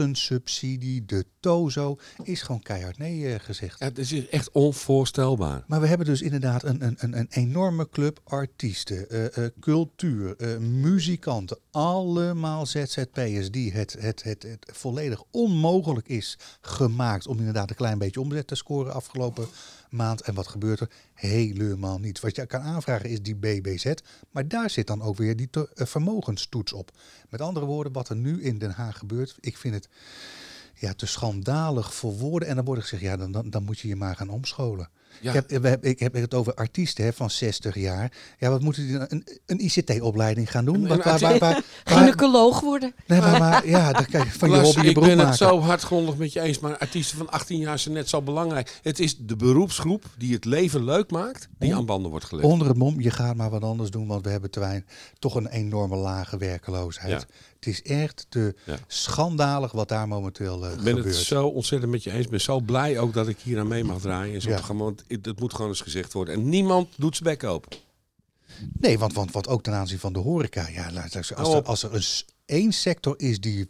Speaker 2: koelkastensubsidie, de tozo, is gewoon keihard nee eh, gezegd.
Speaker 1: Ja, het is echt onvoorstelbaar.
Speaker 2: Maar we hebben dus inderdaad een, een, een, een enorme club artiesten, eh, eh, cultuur, eh, muzikanten, allemaal ZZP'ers die het, het, het, het volledig onmogelijk is gemaakt om inderdaad een klein beetje omzet te scoren afgelopen maand. En wat gebeurt er? Helemaal niets. Wat je kan aanvragen is die BBZ, maar daar zit dan ook weer die te- eh, vermogenstoets op. Met andere woorden, wat er nu in Den Haag gebeurt, ik vind het ja, te schandalig voor woorden. En dan wordt er gezegd, ja, dan, dan, dan moet je je maar gaan omscholen.
Speaker 1: Ja.
Speaker 2: Ik, heb, we hebben- ik heb het over artiesten hè, van 60 jaar. Ja, wat moeten die dan? Een, een ICT-opleiding gaan doen?
Speaker 1: Een-
Speaker 2: Waar-
Speaker 1: een
Speaker 2: waar- waar- waar- waar-
Speaker 5: Gynaecoloog worden.
Speaker 2: Nee, maar, maar ja, daar kan je van je
Speaker 1: Lars,
Speaker 2: hobby je
Speaker 1: ik
Speaker 2: beroep
Speaker 1: ben
Speaker 2: maken.
Speaker 1: het zo hardgrondig met je eens, maar artiesten van 18 jaar zijn net zo belangrijk. Het is de beroepsgroep die het leven leuk maakt, die
Speaker 2: On-
Speaker 1: aan banden wordt gelegd.
Speaker 2: Onder het mom, je gaat maar wat anders doen, want we hebben te weinig, toch een enorme lage werkeloosheid.
Speaker 1: Ja.
Speaker 2: Het is echt te
Speaker 1: Ja.
Speaker 2: schandalig wat daar momenteel eh,
Speaker 1: Ik ben
Speaker 2: gebeurt.
Speaker 1: het zo ontzettend met je eens. Ik ben zo blij ook dat ik hier aan mee mag draaien. En zo
Speaker 2: Ja.
Speaker 1: te gaan, want het, het moet gewoon eens gezegd worden. En niemand doet zijn bek open.
Speaker 2: Nee, want, want, want ook ten aanzien van de horeca. Ja, laat- als, als,
Speaker 1: Hou
Speaker 2: er,
Speaker 1: op.
Speaker 2: als er een s- één sector is die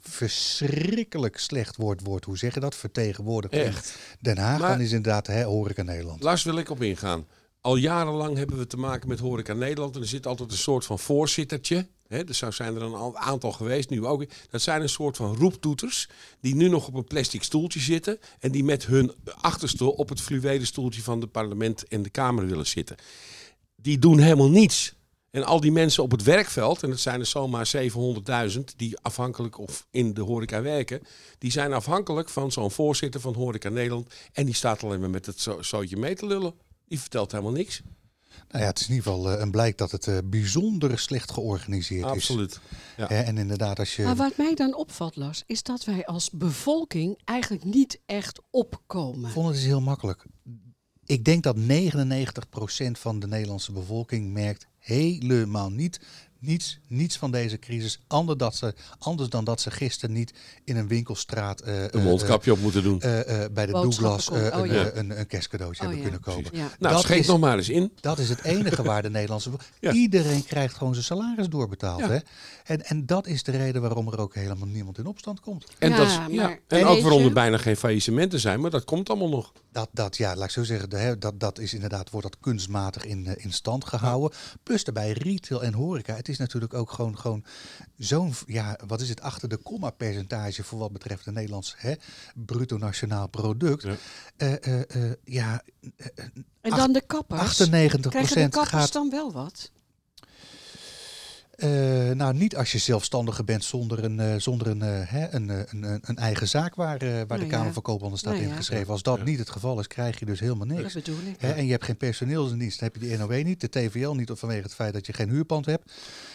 Speaker 2: verschrikkelijk slecht wordt, wordt hoe zeg je dat, vertegenwoordigd in
Speaker 1: Echt.
Speaker 2: Den Haag,
Speaker 1: Maar-
Speaker 2: dan is inderdaad hè, horeca Nederland.
Speaker 1: Lars wil ik op ingaan. Al jarenlang hebben we te maken met Horeca Nederland. En er zit altijd een soort van voorzittertje. Hè, er zou zijn er een al- aantal geweest, nu ook. Dat zijn een soort van roeptoeters. Die nu nog op een plastic stoeltje zitten. En die met hun achterste op het fluwelen stoeltje van het parlement en de Kamer willen zitten. Die doen helemaal niets. En al die mensen op het werkveld, en dat zijn er zomaar 700.000 die afhankelijk of in de horeca werken, die zijn afhankelijk van zo'n voorzitter van Horeca Nederland. En die staat alleen maar met het zo- zootje mee te lullen. Die vertelt helemaal niks.
Speaker 2: Nou ja, het is in ieder geval eh, een blijk dat het eh, bijzonder slecht georganiseerd
Speaker 1: Absoluut.
Speaker 2: is. eh,
Speaker 1: Ja.
Speaker 2: Hè, en inderdaad, als je...
Speaker 5: Maar wat mij dan opvalt, Lars, is dat wij als bevolking eigenlijk niet echt opkomen.
Speaker 2: Ik vond het is heel makkelijk. Ik denk dat 99% van de Nederlandse bevolking merkt helemaal niet, niets, niets van deze crisis. Ander dat ze, anders dan dat ze gisteren niet in een winkelstraat eh,
Speaker 1: Een
Speaker 2: eh,
Speaker 1: mondkapje op moeten doen.
Speaker 2: eh, eh, eh, bij de
Speaker 5: Boodschappen
Speaker 2: Douglas
Speaker 5: kon-
Speaker 2: eh,
Speaker 5: oh
Speaker 2: een,
Speaker 5: ja.
Speaker 2: eh, een, een kerstcadeautje
Speaker 5: Oh
Speaker 2: hebben
Speaker 5: ja.
Speaker 2: kunnen kopen.
Speaker 1: Precies.
Speaker 5: Ja.
Speaker 1: Nou,
Speaker 2: dat
Speaker 1: scheet
Speaker 2: is-
Speaker 1: nog maar eens in.
Speaker 2: Dat is het enige waar de Nederlandse.
Speaker 1: [laughs] Ja.
Speaker 2: Iedereen krijgt gewoon zijn salaris doorbetaald.
Speaker 1: Ja.
Speaker 2: Hè? En, en dat is de reden waarom er ook helemaal niemand in opstand komt.
Speaker 1: En,
Speaker 5: Ja,
Speaker 1: dat, is- ja.
Speaker 5: maar-
Speaker 1: en
Speaker 5: En
Speaker 1: ook
Speaker 5: weet
Speaker 1: waarom
Speaker 5: je-
Speaker 1: er bijna geen faillissementen zijn, maar dat komt allemaal nog.
Speaker 2: Dat, dat, ja, laat ik zo zeggen, de- hè, dat, dat is inderdaad, wordt dat kunstmatig in, eh, in stand gehouden. Plus daarbij retail en horeca. Het is natuurlijk ook gewoon, gewoon zo'n, ja, wat is het, achter de komma percentage voor wat betreft het Nederlands hè, bruto nationaal product.
Speaker 1: Ja.
Speaker 2: Eh, eh, eh, ja, eh, eh,
Speaker 5: En
Speaker 2: Ach-
Speaker 5: dan de kappers.
Speaker 2: 98
Speaker 5: Krijgen de kappers
Speaker 2: gaat...
Speaker 5: dan wel wat?
Speaker 2: eh, nou, niet als je zelfstandige bent zonder een, eh, zonder een, eh, hè, een, eh, een, een, een eigen zaak waar, eh, waar
Speaker 5: Nou
Speaker 2: de
Speaker 5: ja.
Speaker 2: Kamer van Koophandel staat
Speaker 5: Nou ja.
Speaker 2: ingeschreven. Als dat
Speaker 1: Ja.
Speaker 2: niet het geval is, krijg je dus helemaal niks.
Speaker 5: Dat bedoel ik.
Speaker 2: Hè, en je hebt geen personeelsdienst, dan heb je die NOW niet, de TVL niet, of vanwege het feit dat je geen huurpand hebt.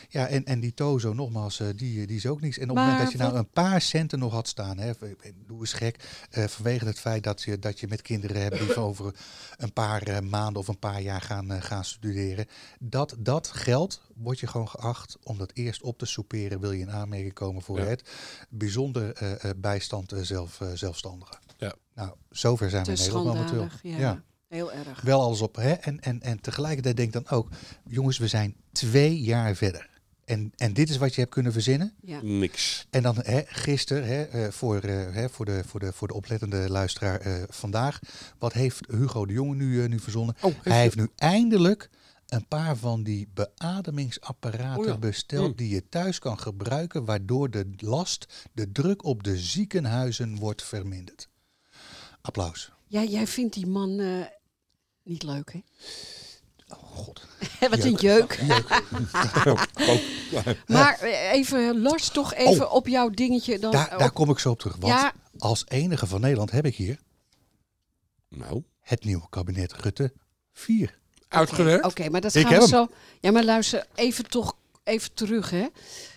Speaker 2: Ja, en, en die Tozo, nogmaals, eh, die, eh, die is ook niks. En op het moment
Speaker 5: Maar
Speaker 2: dat je nou
Speaker 5: wat-
Speaker 2: een paar centen nog had staan, hè, v- eh, doe eens gek, eh, vanwege het feit dat je, dat je met kinderen hebt die van over een paar eh, maanden of een paar jaar gaan, eh, gaan studeren, dat, dat geld word je gewoon geacht om dat eerst op te soeperen, wil je in aanmerking komen voor
Speaker 1: Ja.
Speaker 2: het bijzonder eh, eh, bijstand eh, zelf, eh, zelfstandigen.
Speaker 1: Ja.
Speaker 2: Nou, zover zijn we
Speaker 5: Te
Speaker 2: in Nederland momenteel.
Speaker 5: schandalig. Ja. Heel erg.
Speaker 2: Wel alles op. Hè? En, en, en tegelijkertijd denk ik dan ook, jongens, we zijn twee jaar verder. En, en dit is wat je hebt kunnen verzinnen.
Speaker 5: Ja.
Speaker 1: Niks.
Speaker 2: En dan hè, gisteren, hè, eh, voor, eh, hè, voor, de, voor, de, voor de oplettende luisteraar eh, vandaag, wat heeft Hugo de Jonge nu, eh, nu verzonnen?
Speaker 1: Oh, heeft
Speaker 2: Hij
Speaker 1: hij-
Speaker 2: heeft nu eindelijk een paar van die beademingsapparaten
Speaker 1: Oh ja.
Speaker 2: besteld
Speaker 1: Mm.
Speaker 2: die je thuis kan gebruiken, waardoor de last, de druk op de ziekenhuizen wordt verminderd. Applaus.
Speaker 5: Ja, jij vindt die man eh, niet leuk, hè?
Speaker 2: Oh god.
Speaker 5: [laughs] Wat een jeuk. [laughs] Maar eh, even, Lars, toch even op jouw dingetje. Dan,
Speaker 2: Oh. Daar,
Speaker 5: op-
Speaker 2: daar kom ik zo op terug. Want
Speaker 5: Ja.
Speaker 2: als enige van Nederland heb ik hier
Speaker 1: Nou,
Speaker 2: het nieuwe kabinet Rutte 4.
Speaker 1: uitgewerkt.
Speaker 5: Oké, maar dat
Speaker 2: Ik
Speaker 5: gaan
Speaker 2: heb
Speaker 5: we
Speaker 2: hem.
Speaker 5: zo. Ja, maar luister, even toch even terug, hè.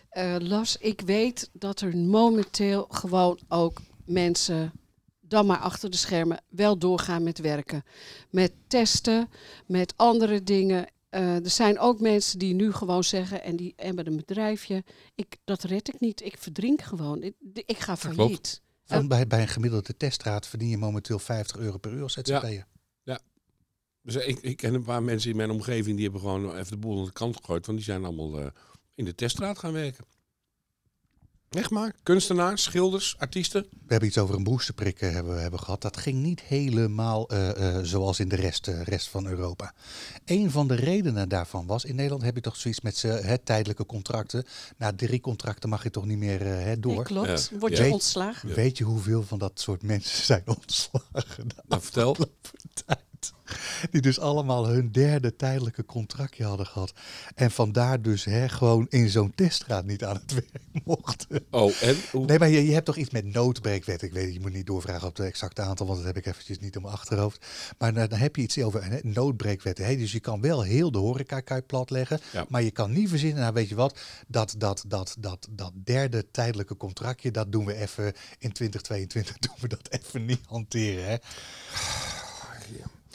Speaker 5: Eh Lars, ik weet dat er momenteel gewoon ook mensen dan maar achter de schermen wel doorgaan met werken. Met testen, met andere dingen. Eh, er zijn ook mensen die nu gewoon zeggen, en die hebben een bedrijfje, ik, dat red ik niet, ik verdrink gewoon, ik, ik ga
Speaker 1: klopt.
Speaker 5: failliet.
Speaker 2: Want bij, bij een gemiddelde testraad verdien je momenteel 50 euro per uur als ZZP'er.
Speaker 1: Ja. Dus ik, ik ken een paar mensen in mijn omgeving die hebben gewoon even de boel aan de kant gegooid. Want die zijn allemaal eh, in de teststraat gaan werken. Echt maar. Kunstenaars, schilders, artiesten.
Speaker 2: We hebben iets over een boosterprik eh, hebben, hebben gehad. Dat ging niet helemaal eh, eh, zoals in de rest, eh, rest van Europa. Een van de redenen daarvan was, in Nederland heb je toch zoiets met z'n, hè, tijdelijke contracten. Na drie contracten mag je toch niet meer eh, hè, door.
Speaker 5: Nee, klopt.
Speaker 1: Ja.
Speaker 5: Word
Speaker 1: Ja.
Speaker 5: je ontslagen?
Speaker 2: Weet je hoeveel van dat soort mensen [laughs] zijn ontslagen de
Speaker 1: Nou, vertel.
Speaker 2: afgelopen tijd? Die dus allemaal hun derde tijdelijke contractje hadden gehad. En vandaar dus hè, gewoon in zo'n teststraat niet aan het [laughs] werk mochten.
Speaker 1: Oh, en? Hoe-
Speaker 2: Nee, maar je, je hebt toch iets met noodbreekwet. Ik weet het, je moet niet doorvragen op het exacte aantal, want dat heb ik eventjes niet om mijn achterhoofd. Maar dan, dan heb je iets over hè, noodbreekwet. Hè? Dus je kan wel heel de horecakaart platleggen,
Speaker 1: Ja.
Speaker 2: maar je kan niet verzinnen, nou weet je wat, dat, dat, dat, dat, dat derde tijdelijke contractje, dat doen we even in 2022, [laughs] doen we dat even niet hanteren. Hè?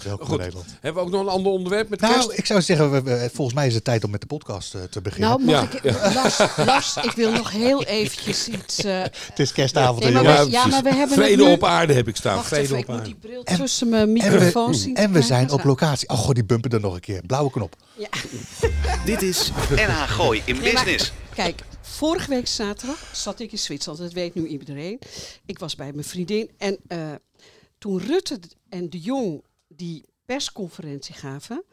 Speaker 2: Welkom
Speaker 1: Goed.
Speaker 2: Nederland.
Speaker 1: Hebben we ook nog een ander onderwerp met kerst?
Speaker 2: Nou, ik zou zeggen, we, we- volgens mij is het tijd om met de podcast eh, te beginnen.
Speaker 5: Nou,
Speaker 1: Ja.
Speaker 5: mag ik, Lars, Lars, ik wil nog heel eventjes
Speaker 1: [laughs]
Speaker 5: iets... eh,
Speaker 2: het is kerstavond.
Speaker 5: Nee, maar
Speaker 2: hè,
Speaker 5: we-
Speaker 2: jongens.
Speaker 5: ja, maar we hebben het
Speaker 1: Vrede
Speaker 5: nu-
Speaker 1: op aarde heb ik staan.
Speaker 5: wacht
Speaker 1: Vrede
Speaker 5: even, ik
Speaker 1: op
Speaker 5: moet
Speaker 1: aarde.
Speaker 5: die bril tussen mijn microfoon zien. te
Speaker 2: en we
Speaker 5: krijgen.
Speaker 2: zijn op
Speaker 5: Nou,
Speaker 2: locatie. Oh god, die bumper er nog een keer. Blauwe knop.
Speaker 3: Dit is NH Gooi in
Speaker 5: Nee, maar-
Speaker 3: Business.
Speaker 5: Kijk, vorige week zaterdag zat ik in Zwitserland. Dat weet nu iedereen. Ik was bij mijn vriendin. En eh, toen Rutte d- en de Jong die persconferentie gaven,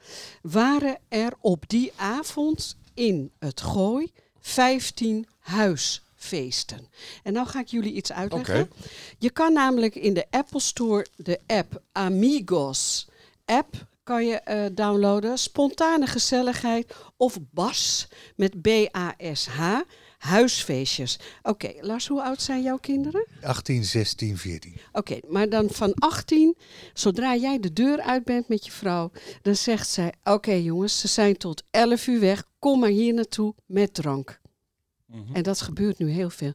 Speaker 5: waren er op die avond in het Gooi 15 huisfeesten. En nou ga ik jullie iets uitleggen.
Speaker 1: Oké.
Speaker 5: Je kan namelijk in de Apple Store de app Amigos app kan je eh, downloaden. Spontane gezelligheid of BAS met B-A-S-H. Huisfeestjes. Oké, Lars, hoe oud zijn jouw kinderen?
Speaker 2: 18, 16, 14.
Speaker 5: Oké, maar dan van 18, zodra jij de deur uit bent met je vrouw, dan zegt zij: Oké jongens, ze zijn tot 11 uur weg, kom maar hier naartoe met drank.
Speaker 2: Mhm.
Speaker 5: En dat gebeurt nu heel veel.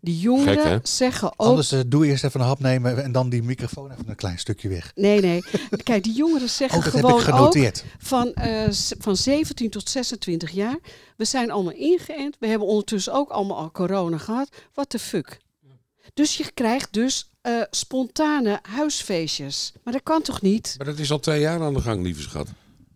Speaker 5: Die jongeren
Speaker 1: Gek, hè?
Speaker 5: zeggen ook.
Speaker 2: Anders eh, doe eerst even een hap nemen en dan die microfoon even een klein stukje weg.
Speaker 5: Nee, nee. Kijk, die jongeren zeggen
Speaker 2: Oh, dat heb
Speaker 5: gewoon
Speaker 2: ik genoteerd.
Speaker 5: ook van, eh, s- van 17 tot 26 jaar. We zijn allemaal ingeënt. We hebben ondertussen ook allemaal al corona gehad. What the fuck? Dus je krijgt dus eh, spontane huisfeestjes. Maar dat kan toch niet?
Speaker 1: Maar dat is al twee jaar aan de gang, lieve schat.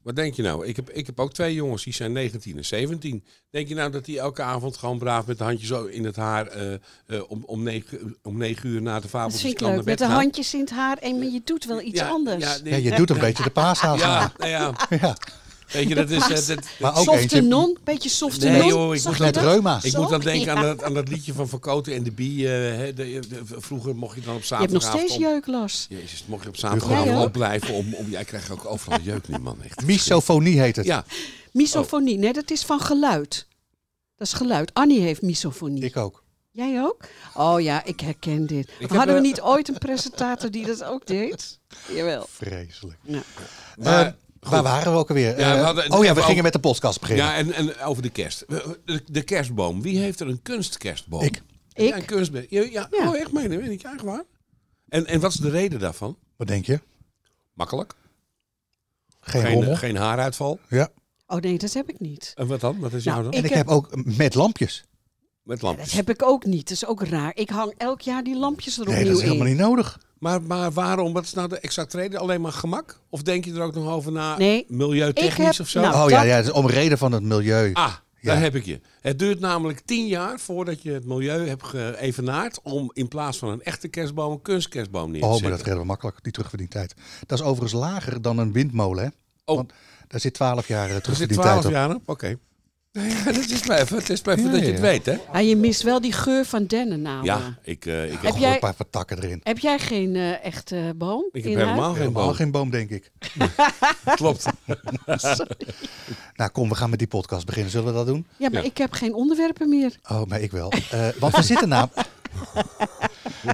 Speaker 1: Wat denk je nou? Ik heb, ik heb ook twee jongens, die zijn 19 en 17. Denk je nou dat die elke avond gewoon braaf met de handjes zo in het haar... eh, eh, om, om, negen, om negen uur na de
Speaker 5: Dat vind
Speaker 1: fabeltjes
Speaker 5: ik
Speaker 1: kan
Speaker 5: leuk.
Speaker 1: naar
Speaker 5: Met
Speaker 1: bed
Speaker 5: de
Speaker 1: gaan?
Speaker 5: handjes in het haar. En maar je doet wel iets
Speaker 1: Ja,
Speaker 5: anders.
Speaker 1: Ja, nee,
Speaker 2: Ja, je doet een beetje de paashaas
Speaker 1: ja,
Speaker 2: aan.
Speaker 1: nou ja,
Speaker 2: Ja.
Speaker 1: weet je, dat is... eh,
Speaker 5: [laughs]
Speaker 1: dat,
Speaker 2: Maar ook
Speaker 5: Softe
Speaker 2: eentje
Speaker 5: non. Beetje softe
Speaker 1: Nee,
Speaker 5: non.
Speaker 1: joh, ik
Speaker 5: Zag
Speaker 1: moet
Speaker 5: je
Speaker 2: met
Speaker 5: dat?
Speaker 2: reuma.
Speaker 1: ik
Speaker 5: Zo?
Speaker 1: moet dan denken aan
Speaker 5: Ja.
Speaker 1: dat, aan dat liedje van Van Koten en de Bie. eh, hè, de- de- vroeger mocht je dan op
Speaker 5: Je hebt nog
Speaker 1: zaterdagavond...
Speaker 5: steeds
Speaker 1: om-
Speaker 5: jeuk, Lars.
Speaker 1: Jezus, mocht je op
Speaker 5: Ja,
Speaker 1: zaterdagavond
Speaker 5: joh.
Speaker 1: opblijven om, om... Jij krijgt ook
Speaker 5: [laughs]
Speaker 1: overal jeuk nu, man. Echt.
Speaker 2: Misofonie heet het.
Speaker 1: Ja,
Speaker 5: Misofonie. Nee, dat is van geluid. Dat is geluid. Annie heeft misofonie.
Speaker 2: Ik ook.
Speaker 5: Jij ook? Oh ja, ik herken dit.
Speaker 1: heb,
Speaker 5: Hadden we
Speaker 1: eh,
Speaker 5: niet ooit een presentator die dat ook deed? [laughs] Nou, Jawel.
Speaker 2: Vreselijk.
Speaker 1: maar...
Speaker 2: Eh, waar waren we ook alweer?
Speaker 1: Ja, we
Speaker 2: Eh,
Speaker 1: hadden-
Speaker 2: oh ja, we
Speaker 1: even
Speaker 2: gingen
Speaker 1: over-
Speaker 2: met de podcast beginnen.
Speaker 1: Ja, en, en over de kerst. De, de kerstboom. Wie heeft er een kunstkerstboom?
Speaker 2: Ik.
Speaker 1: Heb jij
Speaker 5: Ik.
Speaker 1: Een kunstbe- ja, ja.
Speaker 5: Ja.
Speaker 1: Oh, echt meen dat weet ik eigenlijk waar. En, en wat is de reden daarvan?
Speaker 2: Wat denk je?
Speaker 1: Makkelijk.
Speaker 2: Geen, rommel.
Speaker 1: Geen, eh, geen haaruitval.
Speaker 2: Ja.
Speaker 5: Oh nee, dat heb ik niet.
Speaker 1: En wat dan? Wat is
Speaker 5: Nou,
Speaker 1: jou Eh, dan?
Speaker 2: En
Speaker 5: ik-
Speaker 2: ik heb ook met lampjes.
Speaker 1: Met
Speaker 5: Dat
Speaker 1: lampjes.
Speaker 5: heb ik ook niet. Dat is ook raar. Ik hang elk jaar die lampjes er opnieuw
Speaker 2: Nee, dat is
Speaker 5: in.
Speaker 2: helemaal niet nodig.
Speaker 1: Maar, maar waarom? Wat is nou de exacte reden? Alleen maar gemak? Of denk je er ook nog over na?
Speaker 5: Nee.
Speaker 1: Milieutechnisch
Speaker 5: Ik heb-
Speaker 1: of zo?
Speaker 5: nou,
Speaker 2: Oh ja,
Speaker 5: dat-
Speaker 2: ja, dat is om reden van het milieu.
Speaker 1: Ah,
Speaker 2: Ja.
Speaker 1: daar heb ik je. Het duurt namelijk tien jaar voordat je het milieu hebt geëvenaard... om in plaats van een echte kerstboom een kunstkerstboom neer te
Speaker 2: Oh,
Speaker 1: zetten.
Speaker 2: maar dat redden we makkelijk, die terugverdientijd. Dat is overigens lager dan een windmolen, hè?
Speaker 1: Oh.
Speaker 2: Want daar zit 12 jaar eh,
Speaker 1: Er zit
Speaker 2: terugverdientijd
Speaker 1: 12
Speaker 2: op.
Speaker 1: jaar op? Oké. Nee, [laughs] dat is maar even, het is maar even
Speaker 2: Ja,
Speaker 1: dat je het
Speaker 2: ja.
Speaker 1: weet, hè?
Speaker 5: Ah, je mist wel die geur van dennen nou.
Speaker 1: Ja, ik, eh, ik
Speaker 5: Heb
Speaker 1: heb,
Speaker 2: Gooi
Speaker 5: jij-
Speaker 2: een paar, paar takken erin.
Speaker 5: Heb jij geen eh, echte boom
Speaker 1: ik
Speaker 5: in
Speaker 1: heb helemaal geen
Speaker 2: Helemaal
Speaker 1: boom.
Speaker 2: geen boom,
Speaker 1: [laughs]
Speaker 2: denk ik. [laughs]
Speaker 1: Klopt.
Speaker 5: huis?
Speaker 2: Nou, kom, we gaan met die podcast beginnen. Zullen we dat doen?
Speaker 5: Ja, maar
Speaker 1: Ja.
Speaker 5: ik heb geen onderwerpen meer.
Speaker 2: Oh, maar ik wel. Eh, want we zitten namelijk... [laughs]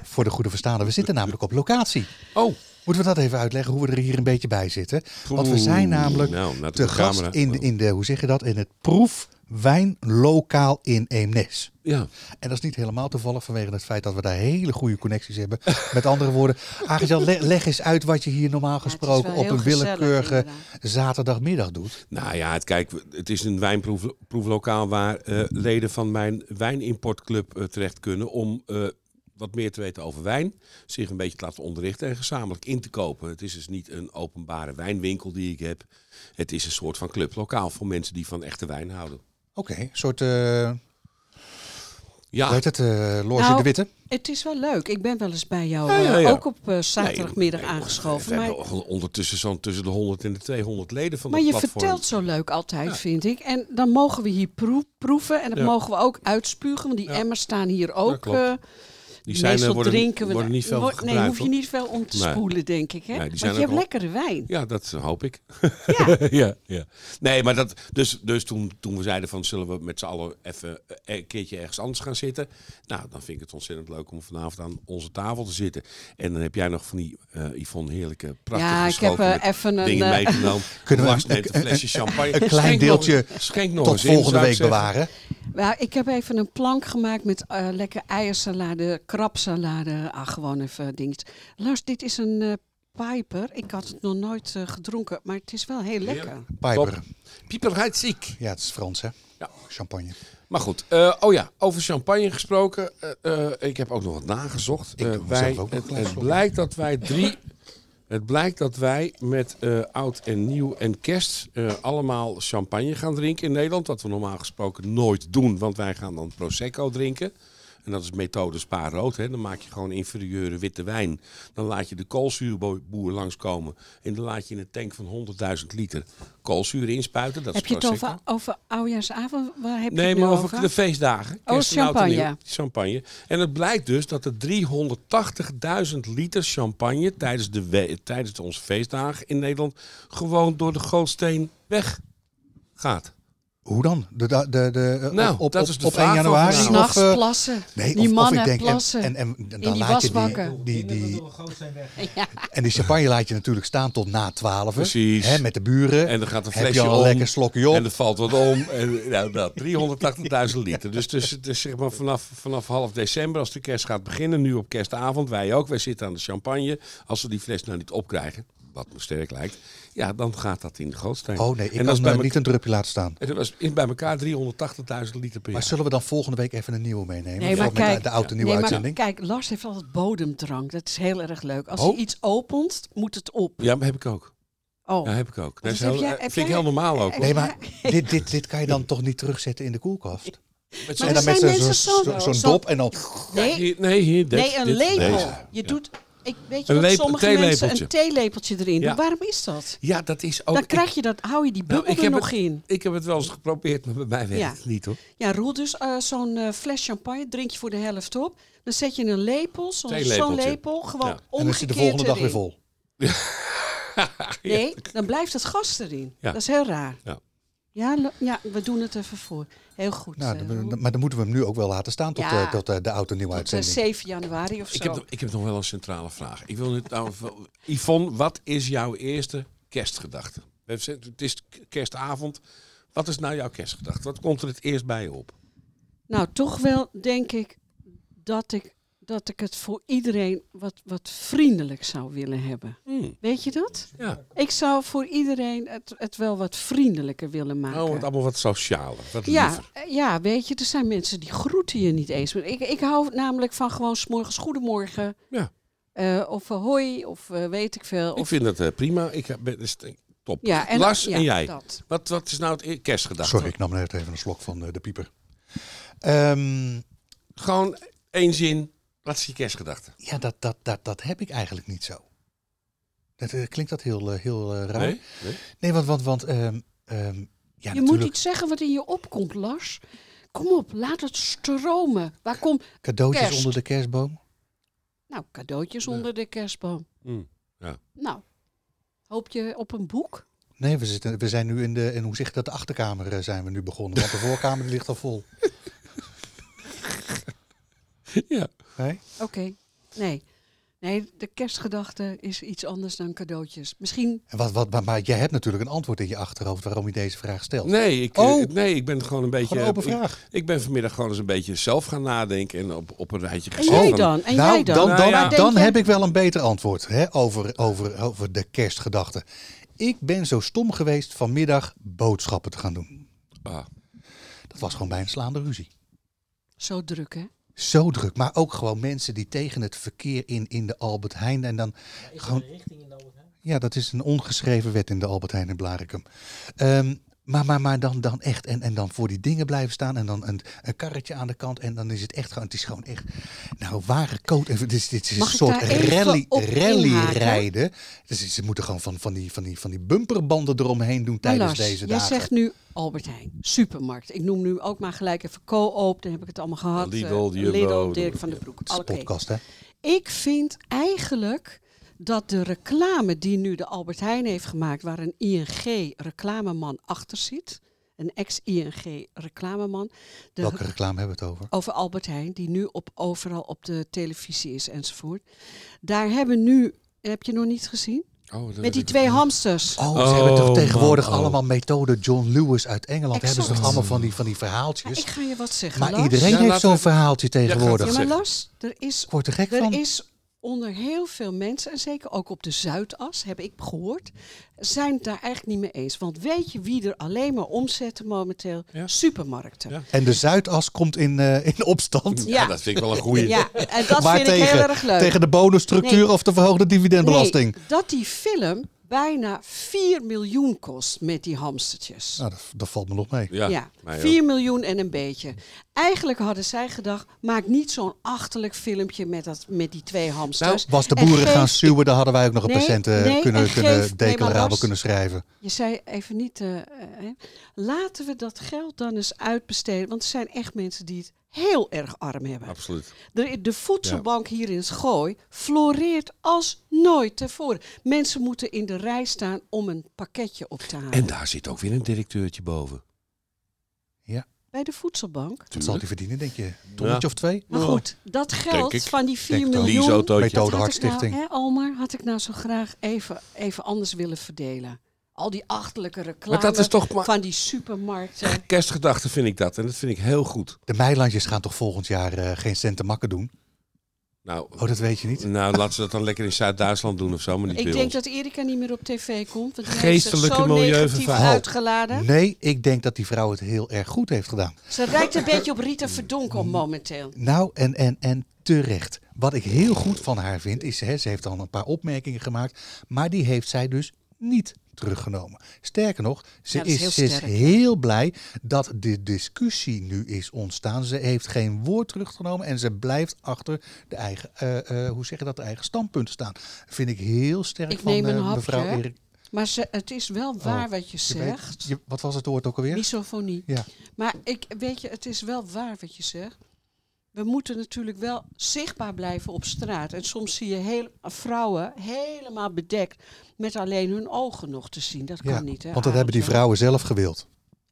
Speaker 2: Voor de goede verstaande, we zitten namelijk op locatie.
Speaker 1: Oh,
Speaker 2: Moeten we dat even uitleggen, hoe we er hier een beetje bij zitten? Want we zijn
Speaker 1: Oeh,
Speaker 2: namelijk
Speaker 1: nou, laat
Speaker 2: te
Speaker 1: ik de
Speaker 2: gast
Speaker 1: camera-
Speaker 2: in, de- in de, hoe zeg je dat, in het proefwijnlokaal in Eemnes.
Speaker 1: ja.
Speaker 2: En dat is niet helemaal toevallig vanwege het feit dat we daar hele goede connecties hebben. Met andere woorden,
Speaker 5: [laughs]
Speaker 2: Agel, le- leg eens uit wat je hier normaal
Speaker 5: is
Speaker 2: gesproken
Speaker 5: wel
Speaker 2: op
Speaker 5: heel
Speaker 2: een willekeurige
Speaker 5: gezellig,
Speaker 2: zaterdagmiddag doet.
Speaker 1: Nou ja, het, kijk, het is een wijnproeflokaal waar eh, leden van mijn wijnimportclub eh, terecht kunnen om eh, wat meer te weten over wijn, zich een beetje te laten onderrichten en gezamenlijk in te kopen. Het is dus niet een openbare wijnwinkel die ik heb. Het is een soort van clublokaal voor mensen die van echte wijn houden.
Speaker 2: Oké, een soort, eh hoe
Speaker 1: Ja,
Speaker 2: heet het, eh, Loge
Speaker 5: Nou,
Speaker 2: de Witte?
Speaker 5: Het is wel leuk. Ik ben wel eens bij jou
Speaker 1: Ja, ja,
Speaker 5: eh,
Speaker 1: ja.
Speaker 5: ook op eh, zaterdagmiddag
Speaker 1: Nee,
Speaker 5: aangeschoven.
Speaker 1: We
Speaker 5: Maar,
Speaker 1: hebben on- ondertussen zo'n tussen de 100 en de 200 leden van
Speaker 5: maar
Speaker 1: het
Speaker 5: je
Speaker 1: platform.
Speaker 5: vertelt zo leuk altijd,
Speaker 1: Ja.
Speaker 5: vind ik. En dan mogen we hier proe- proeven en dat
Speaker 1: Ja.
Speaker 5: mogen we ook uitspugen. Want die
Speaker 1: Ja.
Speaker 5: emmers staan hier ook.
Speaker 1: klopt.
Speaker 5: eh,
Speaker 1: die zijn, eh,
Speaker 5: Meestal
Speaker 1: worden,
Speaker 5: drinken we
Speaker 1: worden
Speaker 5: daar-
Speaker 1: niet veel
Speaker 5: wordt-
Speaker 1: gebruikt.
Speaker 5: Nee, hoef je
Speaker 1: hoor.
Speaker 5: niet veel om te
Speaker 1: Nee.
Speaker 5: spoelen, denk ik. Hè?
Speaker 1: Nee, die zijn
Speaker 5: Want je
Speaker 1: ook
Speaker 5: hebt
Speaker 1: al-
Speaker 5: lekkere wijn.
Speaker 1: Ja, dat hoop ik.
Speaker 5: Ja.
Speaker 1: [laughs] ja, ja. Nee, maar dat, dus, dus toen, toen we zeiden van zullen we met z'n allen even eh, een keertje ergens anders gaan zitten. Nou, dan vind ik het ontzettend leuk om vanavond aan onze tafel te zitten. En dan heb jij nog van die eh Yvonne heerlijke prachtige
Speaker 5: Ja, ik heb,
Speaker 1: schotel
Speaker 5: eh,
Speaker 1: met
Speaker 5: even een,
Speaker 1: dingen
Speaker 5: eh,
Speaker 1: meegenomen.
Speaker 2: [laughs] Kunnen we
Speaker 1: Lars
Speaker 2: een-
Speaker 1: neemt een flesje champagne.
Speaker 2: klein
Speaker 1: Schenk nog-
Speaker 2: deeltje
Speaker 1: schenk nog
Speaker 2: Tot
Speaker 1: eens in,
Speaker 2: volgende
Speaker 1: zou ik
Speaker 2: week
Speaker 1: zeggen.
Speaker 2: bewaren.
Speaker 5: Nou, ik heb even een plank gemaakt met eh lekker eiersalade, krabsalade. Ah, gewoon even dingetjes. Lars, dit is een eh, piper. Ik had het nog nooit eh, gedronken, maar het is wel heel lekker.
Speaker 2: Piper.
Speaker 1: Top. Pieper gaat ziek.
Speaker 2: Ja, het is Frans, hè?
Speaker 1: Ja.
Speaker 2: Champagne.
Speaker 1: Maar goed, eh, oh ja, over champagne gesproken. eh, eh, ik heb ook nog wat nagezocht.
Speaker 2: Ik
Speaker 1: Eh,
Speaker 2: doe mezelf
Speaker 1: wij,
Speaker 2: ook nog een
Speaker 1: het,
Speaker 2: klein
Speaker 1: het
Speaker 2: slokje.
Speaker 1: blijkt dat wij drie. Het blijkt dat wij met eh, oud en nieuw en kerst eh, allemaal champagne gaan drinken in Nederland. Wat we normaal gesproken nooit doen, want wij gaan dan Prosecco drinken. En dat is methode spaarrood. Hè. Dan maak je gewoon inferieure witte wijn. Dan laat je de koolzuurboer langskomen. En dan laat je in een tank van 100.000 liter koolzuur inspuiten. Dat
Speaker 5: heb
Speaker 1: is
Speaker 5: je het
Speaker 1: Prosecco.
Speaker 5: over, over oudjaarsavond? Waar heb je
Speaker 1: Nee,
Speaker 5: het nu
Speaker 1: maar over de feestdagen.
Speaker 5: Oh,
Speaker 1: Kerst en oud en
Speaker 5: champagne.
Speaker 1: nieuw. Champagne. En het blijkt dus dat er 380.000 liter champagne tijdens, de we- tijdens de onze feestdagen in Nederland gewoon door de gootsteen weg gaat.
Speaker 2: Hoe dan? De, de, de, de, eh,
Speaker 1: Nou,
Speaker 2: op, op,
Speaker 1: dat is de
Speaker 2: op 1
Speaker 1: vraag van
Speaker 2: januari?
Speaker 1: vandaag.
Speaker 5: S'nachts
Speaker 2: Of, eh,
Speaker 5: plassen.
Speaker 2: nee,
Speaker 5: die
Speaker 2: of, of
Speaker 5: mannen
Speaker 2: ik denk,
Speaker 5: plassen.
Speaker 2: En, en, en, dan
Speaker 5: die
Speaker 2: laat je die,
Speaker 5: wasbakken.
Speaker 2: die, die,
Speaker 5: [laughs]
Speaker 2: en die champagne laat je natuurlijk staan tot na 12.
Speaker 1: Precies.
Speaker 2: Hè, met de buren.
Speaker 1: En dan gaat een
Speaker 2: Heb je
Speaker 1: flesje
Speaker 2: al
Speaker 1: om.
Speaker 2: een lekker slokje op.
Speaker 1: En er valt wat om. En, nou, dat, 380.000 liter. Dus, dus, dus zeg maar vanaf, vanaf half december, als de kerst gaat beginnen, nu op kerstavond, wij ook, wij zitten aan de champagne. Als we die fles nou niet opkrijgen, wat me sterk lijkt, ja, dan gaat dat in de gootsteen.
Speaker 2: Oh nee, ik
Speaker 1: en dat
Speaker 2: kan
Speaker 1: is bij
Speaker 2: eh,
Speaker 1: me-
Speaker 2: niet een drupje laten staan.
Speaker 1: En dat was in bij elkaar 380.000 liter per
Speaker 2: Maar
Speaker 1: jaar.
Speaker 2: zullen we dan volgende week even een nieuwe meenemen?
Speaker 5: Nee, maar
Speaker 2: Of met de-
Speaker 5: kijk,
Speaker 2: de oude nieuwe
Speaker 5: nee, maar
Speaker 2: uitzending.
Speaker 5: kijk, Lars heeft altijd bodemdrank. Dat is heel erg leuk. Als
Speaker 1: Oh.
Speaker 5: hij iets opent, moet het op.
Speaker 1: Ja, maar heb ik ook.
Speaker 5: Oh.
Speaker 1: Ja, heb ik ook. Dat
Speaker 5: Dus
Speaker 1: is
Speaker 5: heb
Speaker 1: heel,
Speaker 5: jij-
Speaker 1: eh,
Speaker 5: heb
Speaker 1: vind
Speaker 5: jij-
Speaker 1: ik heel normaal ook. hoor.
Speaker 2: Nee, maar dit, dit, dit kan je dan toch niet terugzetten in de koelkast?
Speaker 1: Met zo'n-
Speaker 5: Maar dus- er zijn
Speaker 2: zo'n
Speaker 5: mensen
Speaker 2: zo-
Speaker 5: zo-
Speaker 2: zo'n
Speaker 5: zo-
Speaker 2: dop en dan...
Speaker 1: Ja,
Speaker 5: Nee,
Speaker 1: hier- nee, hier, dit,
Speaker 5: nee, een
Speaker 1: dit,
Speaker 5: lepel.
Speaker 1: deze.
Speaker 5: Je
Speaker 1: Ja.
Speaker 5: doet, ik weet je
Speaker 1: Een
Speaker 5: dat
Speaker 1: lepel-
Speaker 5: sommige mensen
Speaker 1: theelepeltje.
Speaker 5: een theelepeltje erin doen.
Speaker 1: Ja.
Speaker 5: Waarom is dat?
Speaker 1: Ja, dat is ook...
Speaker 5: Dan
Speaker 1: ik-
Speaker 5: krijg je dat, hou je die
Speaker 1: Nou,
Speaker 5: bubbel
Speaker 1: ik
Speaker 5: er
Speaker 1: heb
Speaker 5: nog
Speaker 1: het,
Speaker 5: in.
Speaker 1: Ik heb het wel eens geprobeerd, maar bij mij werkt
Speaker 5: Ja.
Speaker 1: het niet hoor.
Speaker 5: Ja, roel dus eh, zo'n eh, fles champagne, drink je voor de helft op. Dan zet je een lepel, zo'n
Speaker 1: Theelepeltje.
Speaker 5: zo'n lepel, gewoon
Speaker 1: Ja. En
Speaker 5: omgekeerd
Speaker 2: En dan is hij de volgende dag
Speaker 5: erin.
Speaker 2: weer vol.
Speaker 5: Nee, dan blijft het gas erin.
Speaker 1: Ja.
Speaker 5: Dat is heel raar.
Speaker 1: Ja.
Speaker 5: Ja, lo- ja, we doen het even voor. Heel goed.
Speaker 2: Nou,
Speaker 5: eh,
Speaker 2: dan-
Speaker 5: Roel.
Speaker 2: dan- maar dan moeten we hem nu ook wel laten staan tot,
Speaker 5: Ja.
Speaker 2: eh, tot eh, de oude nieuwe
Speaker 5: Tot, eh,
Speaker 2: uitzending.
Speaker 5: 7 januari of zo.
Speaker 1: Ik heb, nog- ik heb nog wel een centrale vraag. Ik wil nu, nou, wel- Yvonne, wat is jouw eerste kerstgedachte? We hebben gezegd, Het is k- kerstavond. Wat is nou jouw kerstgedachte? Wat komt er het eerst bij je op?
Speaker 5: Nou, toch wel denk ik dat ik, dat ik het voor iedereen wat, wat vriendelijk zou willen hebben.
Speaker 1: Hmm,
Speaker 5: Weet je dat?
Speaker 1: ja.
Speaker 5: Ik zou voor iedereen het, het wel wat vriendelijker willen maken.
Speaker 1: Nou, het allemaal wat socialer, wat
Speaker 5: ja,
Speaker 1: liever.
Speaker 5: eh, ja, weet je, er zijn mensen die groeten je niet eens. Ik, ik hou namelijk van gewoon 's morgens goedemorgen.
Speaker 1: Ja.
Speaker 5: eh, of eh, hoi, of eh, weet ik veel.
Speaker 1: Ik
Speaker 5: Of,
Speaker 1: vind dat eh, prima. Ik heb- ben, is, top.
Speaker 5: ja, en,
Speaker 1: Lars
Speaker 5: ja,
Speaker 1: en jij.
Speaker 5: Dat.
Speaker 1: Wat, wat is nou het e- kerstgedachte?
Speaker 2: Sorry, ik nam net even een slok van eh, de pieper. Ehm,
Speaker 1: Gewoon één zin. Wat is je kerstgedachte?
Speaker 2: ja, dat, dat, dat, dat heb ik eigenlijk niet zo. Dat, eh, klinkt dat heel, eh, heel eh, raar?
Speaker 1: Nee? Nee?
Speaker 2: Nee, want... want, want ehm, ehm, ja,
Speaker 5: je moet
Speaker 2: natuurlijk,
Speaker 5: iets zeggen wat in je opkomt, Lars. Kom op, laat het stromen. Waar komt...
Speaker 2: cadeautjes
Speaker 5: kerst.
Speaker 2: onder de kerstboom.
Speaker 5: Nou, cadeautjes
Speaker 1: Ja.
Speaker 5: onder de kerstboom.
Speaker 1: Hmm.
Speaker 2: [laughs]
Speaker 5: Nou, hoop je op een boek?
Speaker 2: Nee, we, zitten, we zijn nu in de, en hoe zeg je dat, de achterkamer eh, zijn we nu begonnen. Want de voorkamer [laughs] die ligt al vol.
Speaker 1: Ja.
Speaker 2: Nee?
Speaker 5: Oké. Nee. Nee, de kerstgedachte is iets anders dan cadeautjes. Misschien,
Speaker 2: En wat, wat, maar, maar jij hebt natuurlijk een antwoord in je achterhoofd waarom je deze vraag stelt.
Speaker 1: Nee, ik,
Speaker 2: Oh.
Speaker 1: eh, nee, ik ben gewoon een beetje...
Speaker 2: Gewoon een open
Speaker 1: ik-
Speaker 2: vraag.
Speaker 1: Ik ben vanmiddag gewoon eens een beetje zelf gaan nadenken en op, op een rijtje
Speaker 5: en
Speaker 1: gezet. Oh,
Speaker 5: jij
Speaker 1: van-
Speaker 5: dan? En
Speaker 2: nou,
Speaker 5: jij dan?
Speaker 2: dan,
Speaker 1: Nou
Speaker 2: dan,
Speaker 1: ja.
Speaker 5: Maar denk jij-
Speaker 2: heb ik wel een beter antwoord hè, over, over, over de kerstgedachte. Ik ben zo stom geweest vanmiddag boodschappen te gaan doen.
Speaker 1: Ah,
Speaker 2: Dat was gewoon bij een slaande ruzie.
Speaker 5: Zo druk, hè? Nou,
Speaker 2: Zo druk. Maar ook gewoon mensen die tegen het verkeer in, in de Albert Heijn. En dan gewoon. Ja, dat is een ongeschreven wet in de Albert Heijn in Blarikum. Ehm, maar, maar, maar dan, dan echt. En, en dan voor die dingen blijven staan. En dan een, een karretje aan de kant. En dan is het echt gewoon. Het is gewoon echt. Nou, ware coat. Even, dit is, dit is een
Speaker 5: Mag ik
Speaker 2: soort
Speaker 5: daar even
Speaker 2: rally,
Speaker 5: op
Speaker 2: rally
Speaker 5: inhaken?
Speaker 2: rijden. Dus ze moeten gewoon van, van, die, van, die, van die bumperbanden eromheen doen
Speaker 5: Maar
Speaker 2: tijdens
Speaker 5: Lars,
Speaker 2: deze
Speaker 5: jij
Speaker 2: dagen.
Speaker 5: zegt nu Albert Heijn, supermarkt. Ik noem nu ook maar gelijk even co-op, dan heb ik het allemaal gehad.
Speaker 1: Lidl,
Speaker 5: Eh,
Speaker 1: Jumbo,
Speaker 5: Lidl, Dirk van den Broek.
Speaker 2: Het is een
Speaker 5: nou, Oké.
Speaker 2: podcast, hè?
Speaker 5: Ik vind eigenlijk dat de reclame die nu de Albert Heijn heeft gemaakt, waar een ING-reclameman achter zit, een ex-ING-reclameman, de
Speaker 2: Welke reclame hebben we het over?
Speaker 5: over Albert Heijn, die nu op, overal op de televisie is enzovoort. Daar hebben nu, heb je nog niet gezien?
Speaker 1: Oh, dat
Speaker 5: Met die
Speaker 1: ik-
Speaker 5: twee hamsters.
Speaker 2: Oh, ze hebben toch
Speaker 1: man,
Speaker 2: tegenwoordig
Speaker 1: oh.
Speaker 2: allemaal methoden. John Lewis uit Engeland
Speaker 5: Exact.
Speaker 2: hebben ze toch allemaal van die, van die
Speaker 5: Ja,
Speaker 2: verhaaltjes.
Speaker 5: ik ga je wat zeggen.
Speaker 2: maar
Speaker 5: Lars.
Speaker 2: iedereen
Speaker 1: Ja,
Speaker 2: heeft
Speaker 1: laten
Speaker 2: zo'n
Speaker 1: we-
Speaker 2: verhaaltje tegenwoordig.
Speaker 5: Ja,
Speaker 1: gaat zeggen.
Speaker 5: maar Lars, er is,
Speaker 2: Ik word er gek van.
Speaker 5: er is onder heel veel mensen, en zeker ook op de Zuidas, heb ik gehoord, zijn het daar eigenlijk niet mee eens. Want weet je wie er alleen maar omzetten momenteel?
Speaker 1: Ja.
Speaker 5: Supermarkten.
Speaker 1: Ja.
Speaker 2: En de Zuidas komt in, eh, in opstand.
Speaker 1: Ja, dat vind ik wel een goeie.
Speaker 5: [laughs] Ja, en
Speaker 2: [laughs]
Speaker 5: dat
Speaker 2: maar
Speaker 5: vind
Speaker 2: tegen,
Speaker 5: ik heel erg leuk.
Speaker 2: tegen de bonusstructuur of de verhoogde dividendbelasting.
Speaker 5: Nee, dat die film bijna 4 miljoen kost met die hamstertjes.
Speaker 2: Nou, dat, dat valt me nog mee.
Speaker 1: Ja,
Speaker 5: Ja,
Speaker 1: mij
Speaker 5: 4
Speaker 1: ook.
Speaker 5: miljoen en een beetje. Eigenlijk hadden zij gedacht, maak niet zo'n achterlijk filmpje met, dat, met die twee hamsters.
Speaker 2: Nou, Was de
Speaker 5: En
Speaker 2: boeren
Speaker 5: geef-
Speaker 2: gaan suwen, dan hadden wij ook nog een
Speaker 5: Nee,
Speaker 2: patiënt eh,
Speaker 5: nee,
Speaker 2: kunnen,
Speaker 5: en
Speaker 2: kunnen
Speaker 5: geef- nee, maar
Speaker 2: declarabel
Speaker 5: Lars-
Speaker 2: kunnen schrijven.
Speaker 5: Je zei even niet, eh, eh, hè. laten we dat geld dan eens uitbesteden. Want er zijn echt mensen die het heel erg arm hebben.
Speaker 1: Absoluut.
Speaker 5: De, de voedselbank hier in Schooi floreert als nooit tevoren. Mensen moeten in de rij staan om een pakketje op te halen.
Speaker 1: En daar zit ook weer een directeurtje boven.
Speaker 5: Bij de voedselbank.
Speaker 2: Wat zal die verdienen, denk je?
Speaker 1: Ja.
Speaker 2: Tonnetje of twee?
Speaker 5: Maar goed, dat
Speaker 1: Oh,
Speaker 5: geld
Speaker 1: ik.
Speaker 5: van die 4
Speaker 2: Denk het ook.
Speaker 5: miljoen...
Speaker 1: Leaseautootje.
Speaker 2: Methode
Speaker 5: Had ik nou,
Speaker 2: Hartstichting.
Speaker 5: hè, Almar, had ik nou zo graag even, even anders willen verdelen. Al die achterlijke reclame
Speaker 1: Maar dat is toch maar
Speaker 5: van die supermarkten.
Speaker 1: kerstgedachte vind ik dat. En dat vind ik heel goed.
Speaker 2: De Meilandjes gaan toch volgend jaar eh, geen cent te makken doen?
Speaker 1: Nou,
Speaker 2: Oh, dat weet je niet.
Speaker 1: nou, laten ze dat dan lekker in Zuid-Duitsland doen of zo, maar niet
Speaker 5: Ik
Speaker 1: bij
Speaker 5: denk
Speaker 1: ons.
Speaker 5: dat Erika niet meer op tv komt. Want die
Speaker 1: Geestelijke
Speaker 5: heeft zich zo negatief
Speaker 1: milieuvervuiling.
Speaker 5: uitgeladen.
Speaker 2: Oh, Nee, ik denk dat die vrouw het heel erg goed heeft gedaan.
Speaker 5: Ze rijdt een beetje op Rita Verdonkel momenteel.
Speaker 2: Nou, en, en, en terecht. Wat ik heel goed van haar vind, is hè, ze heeft dan een paar opmerkingen gemaakt, maar die heeft zij dus niet teruggenomen. Sterker nog, ze
Speaker 5: Ja, dat is
Speaker 2: is,
Speaker 5: heel
Speaker 2: ze is
Speaker 5: sterk, hè?
Speaker 2: heel blij dat de discussie nu is ontstaan. Ze heeft geen woord teruggenomen en ze blijft achter de eigen, eh, eh, hoe zeg je dat, de eigen standpunten staan. Vind ik heel sterk
Speaker 5: Ik
Speaker 2: van
Speaker 5: neem een
Speaker 2: eh,
Speaker 5: hapje,
Speaker 2: mevrouw
Speaker 5: hè?
Speaker 2: Erik.
Speaker 5: Maar ze, het is wel waar wat je
Speaker 2: Oh, Je weet-
Speaker 5: zegt.
Speaker 2: je- wat was het woord ook alweer?
Speaker 5: Misofonie.
Speaker 2: Ja.
Speaker 5: Maar ik, weet je, het is wel waar wat je zegt. We moeten natuurlijk wel zichtbaar blijven op straat. En soms zie je heel, vrouwen helemaal bedekt met alleen hun ogen nog te zien. Dat kan
Speaker 2: Ja,
Speaker 5: niet, hè?
Speaker 2: Want dat hebben die
Speaker 5: Arendt,
Speaker 2: vrouwen zelf gewild.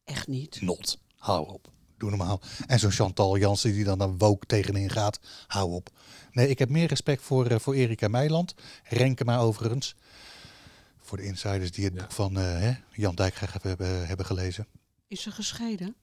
Speaker 5: hè? Echt niet.
Speaker 2: Not. Hou op. Doe normaal. En zo'n Chantal Jansen die dan een woke tegenin gaat. Hou op. Nee, ik heb meer respect voor, eh, voor Erika Meiland. Renkema overigens. Voor de insiders die het boek van eh, hè, Jan Dijkgraag hebben, hebben, hebben gelezen.
Speaker 5: Is ze gescheiden?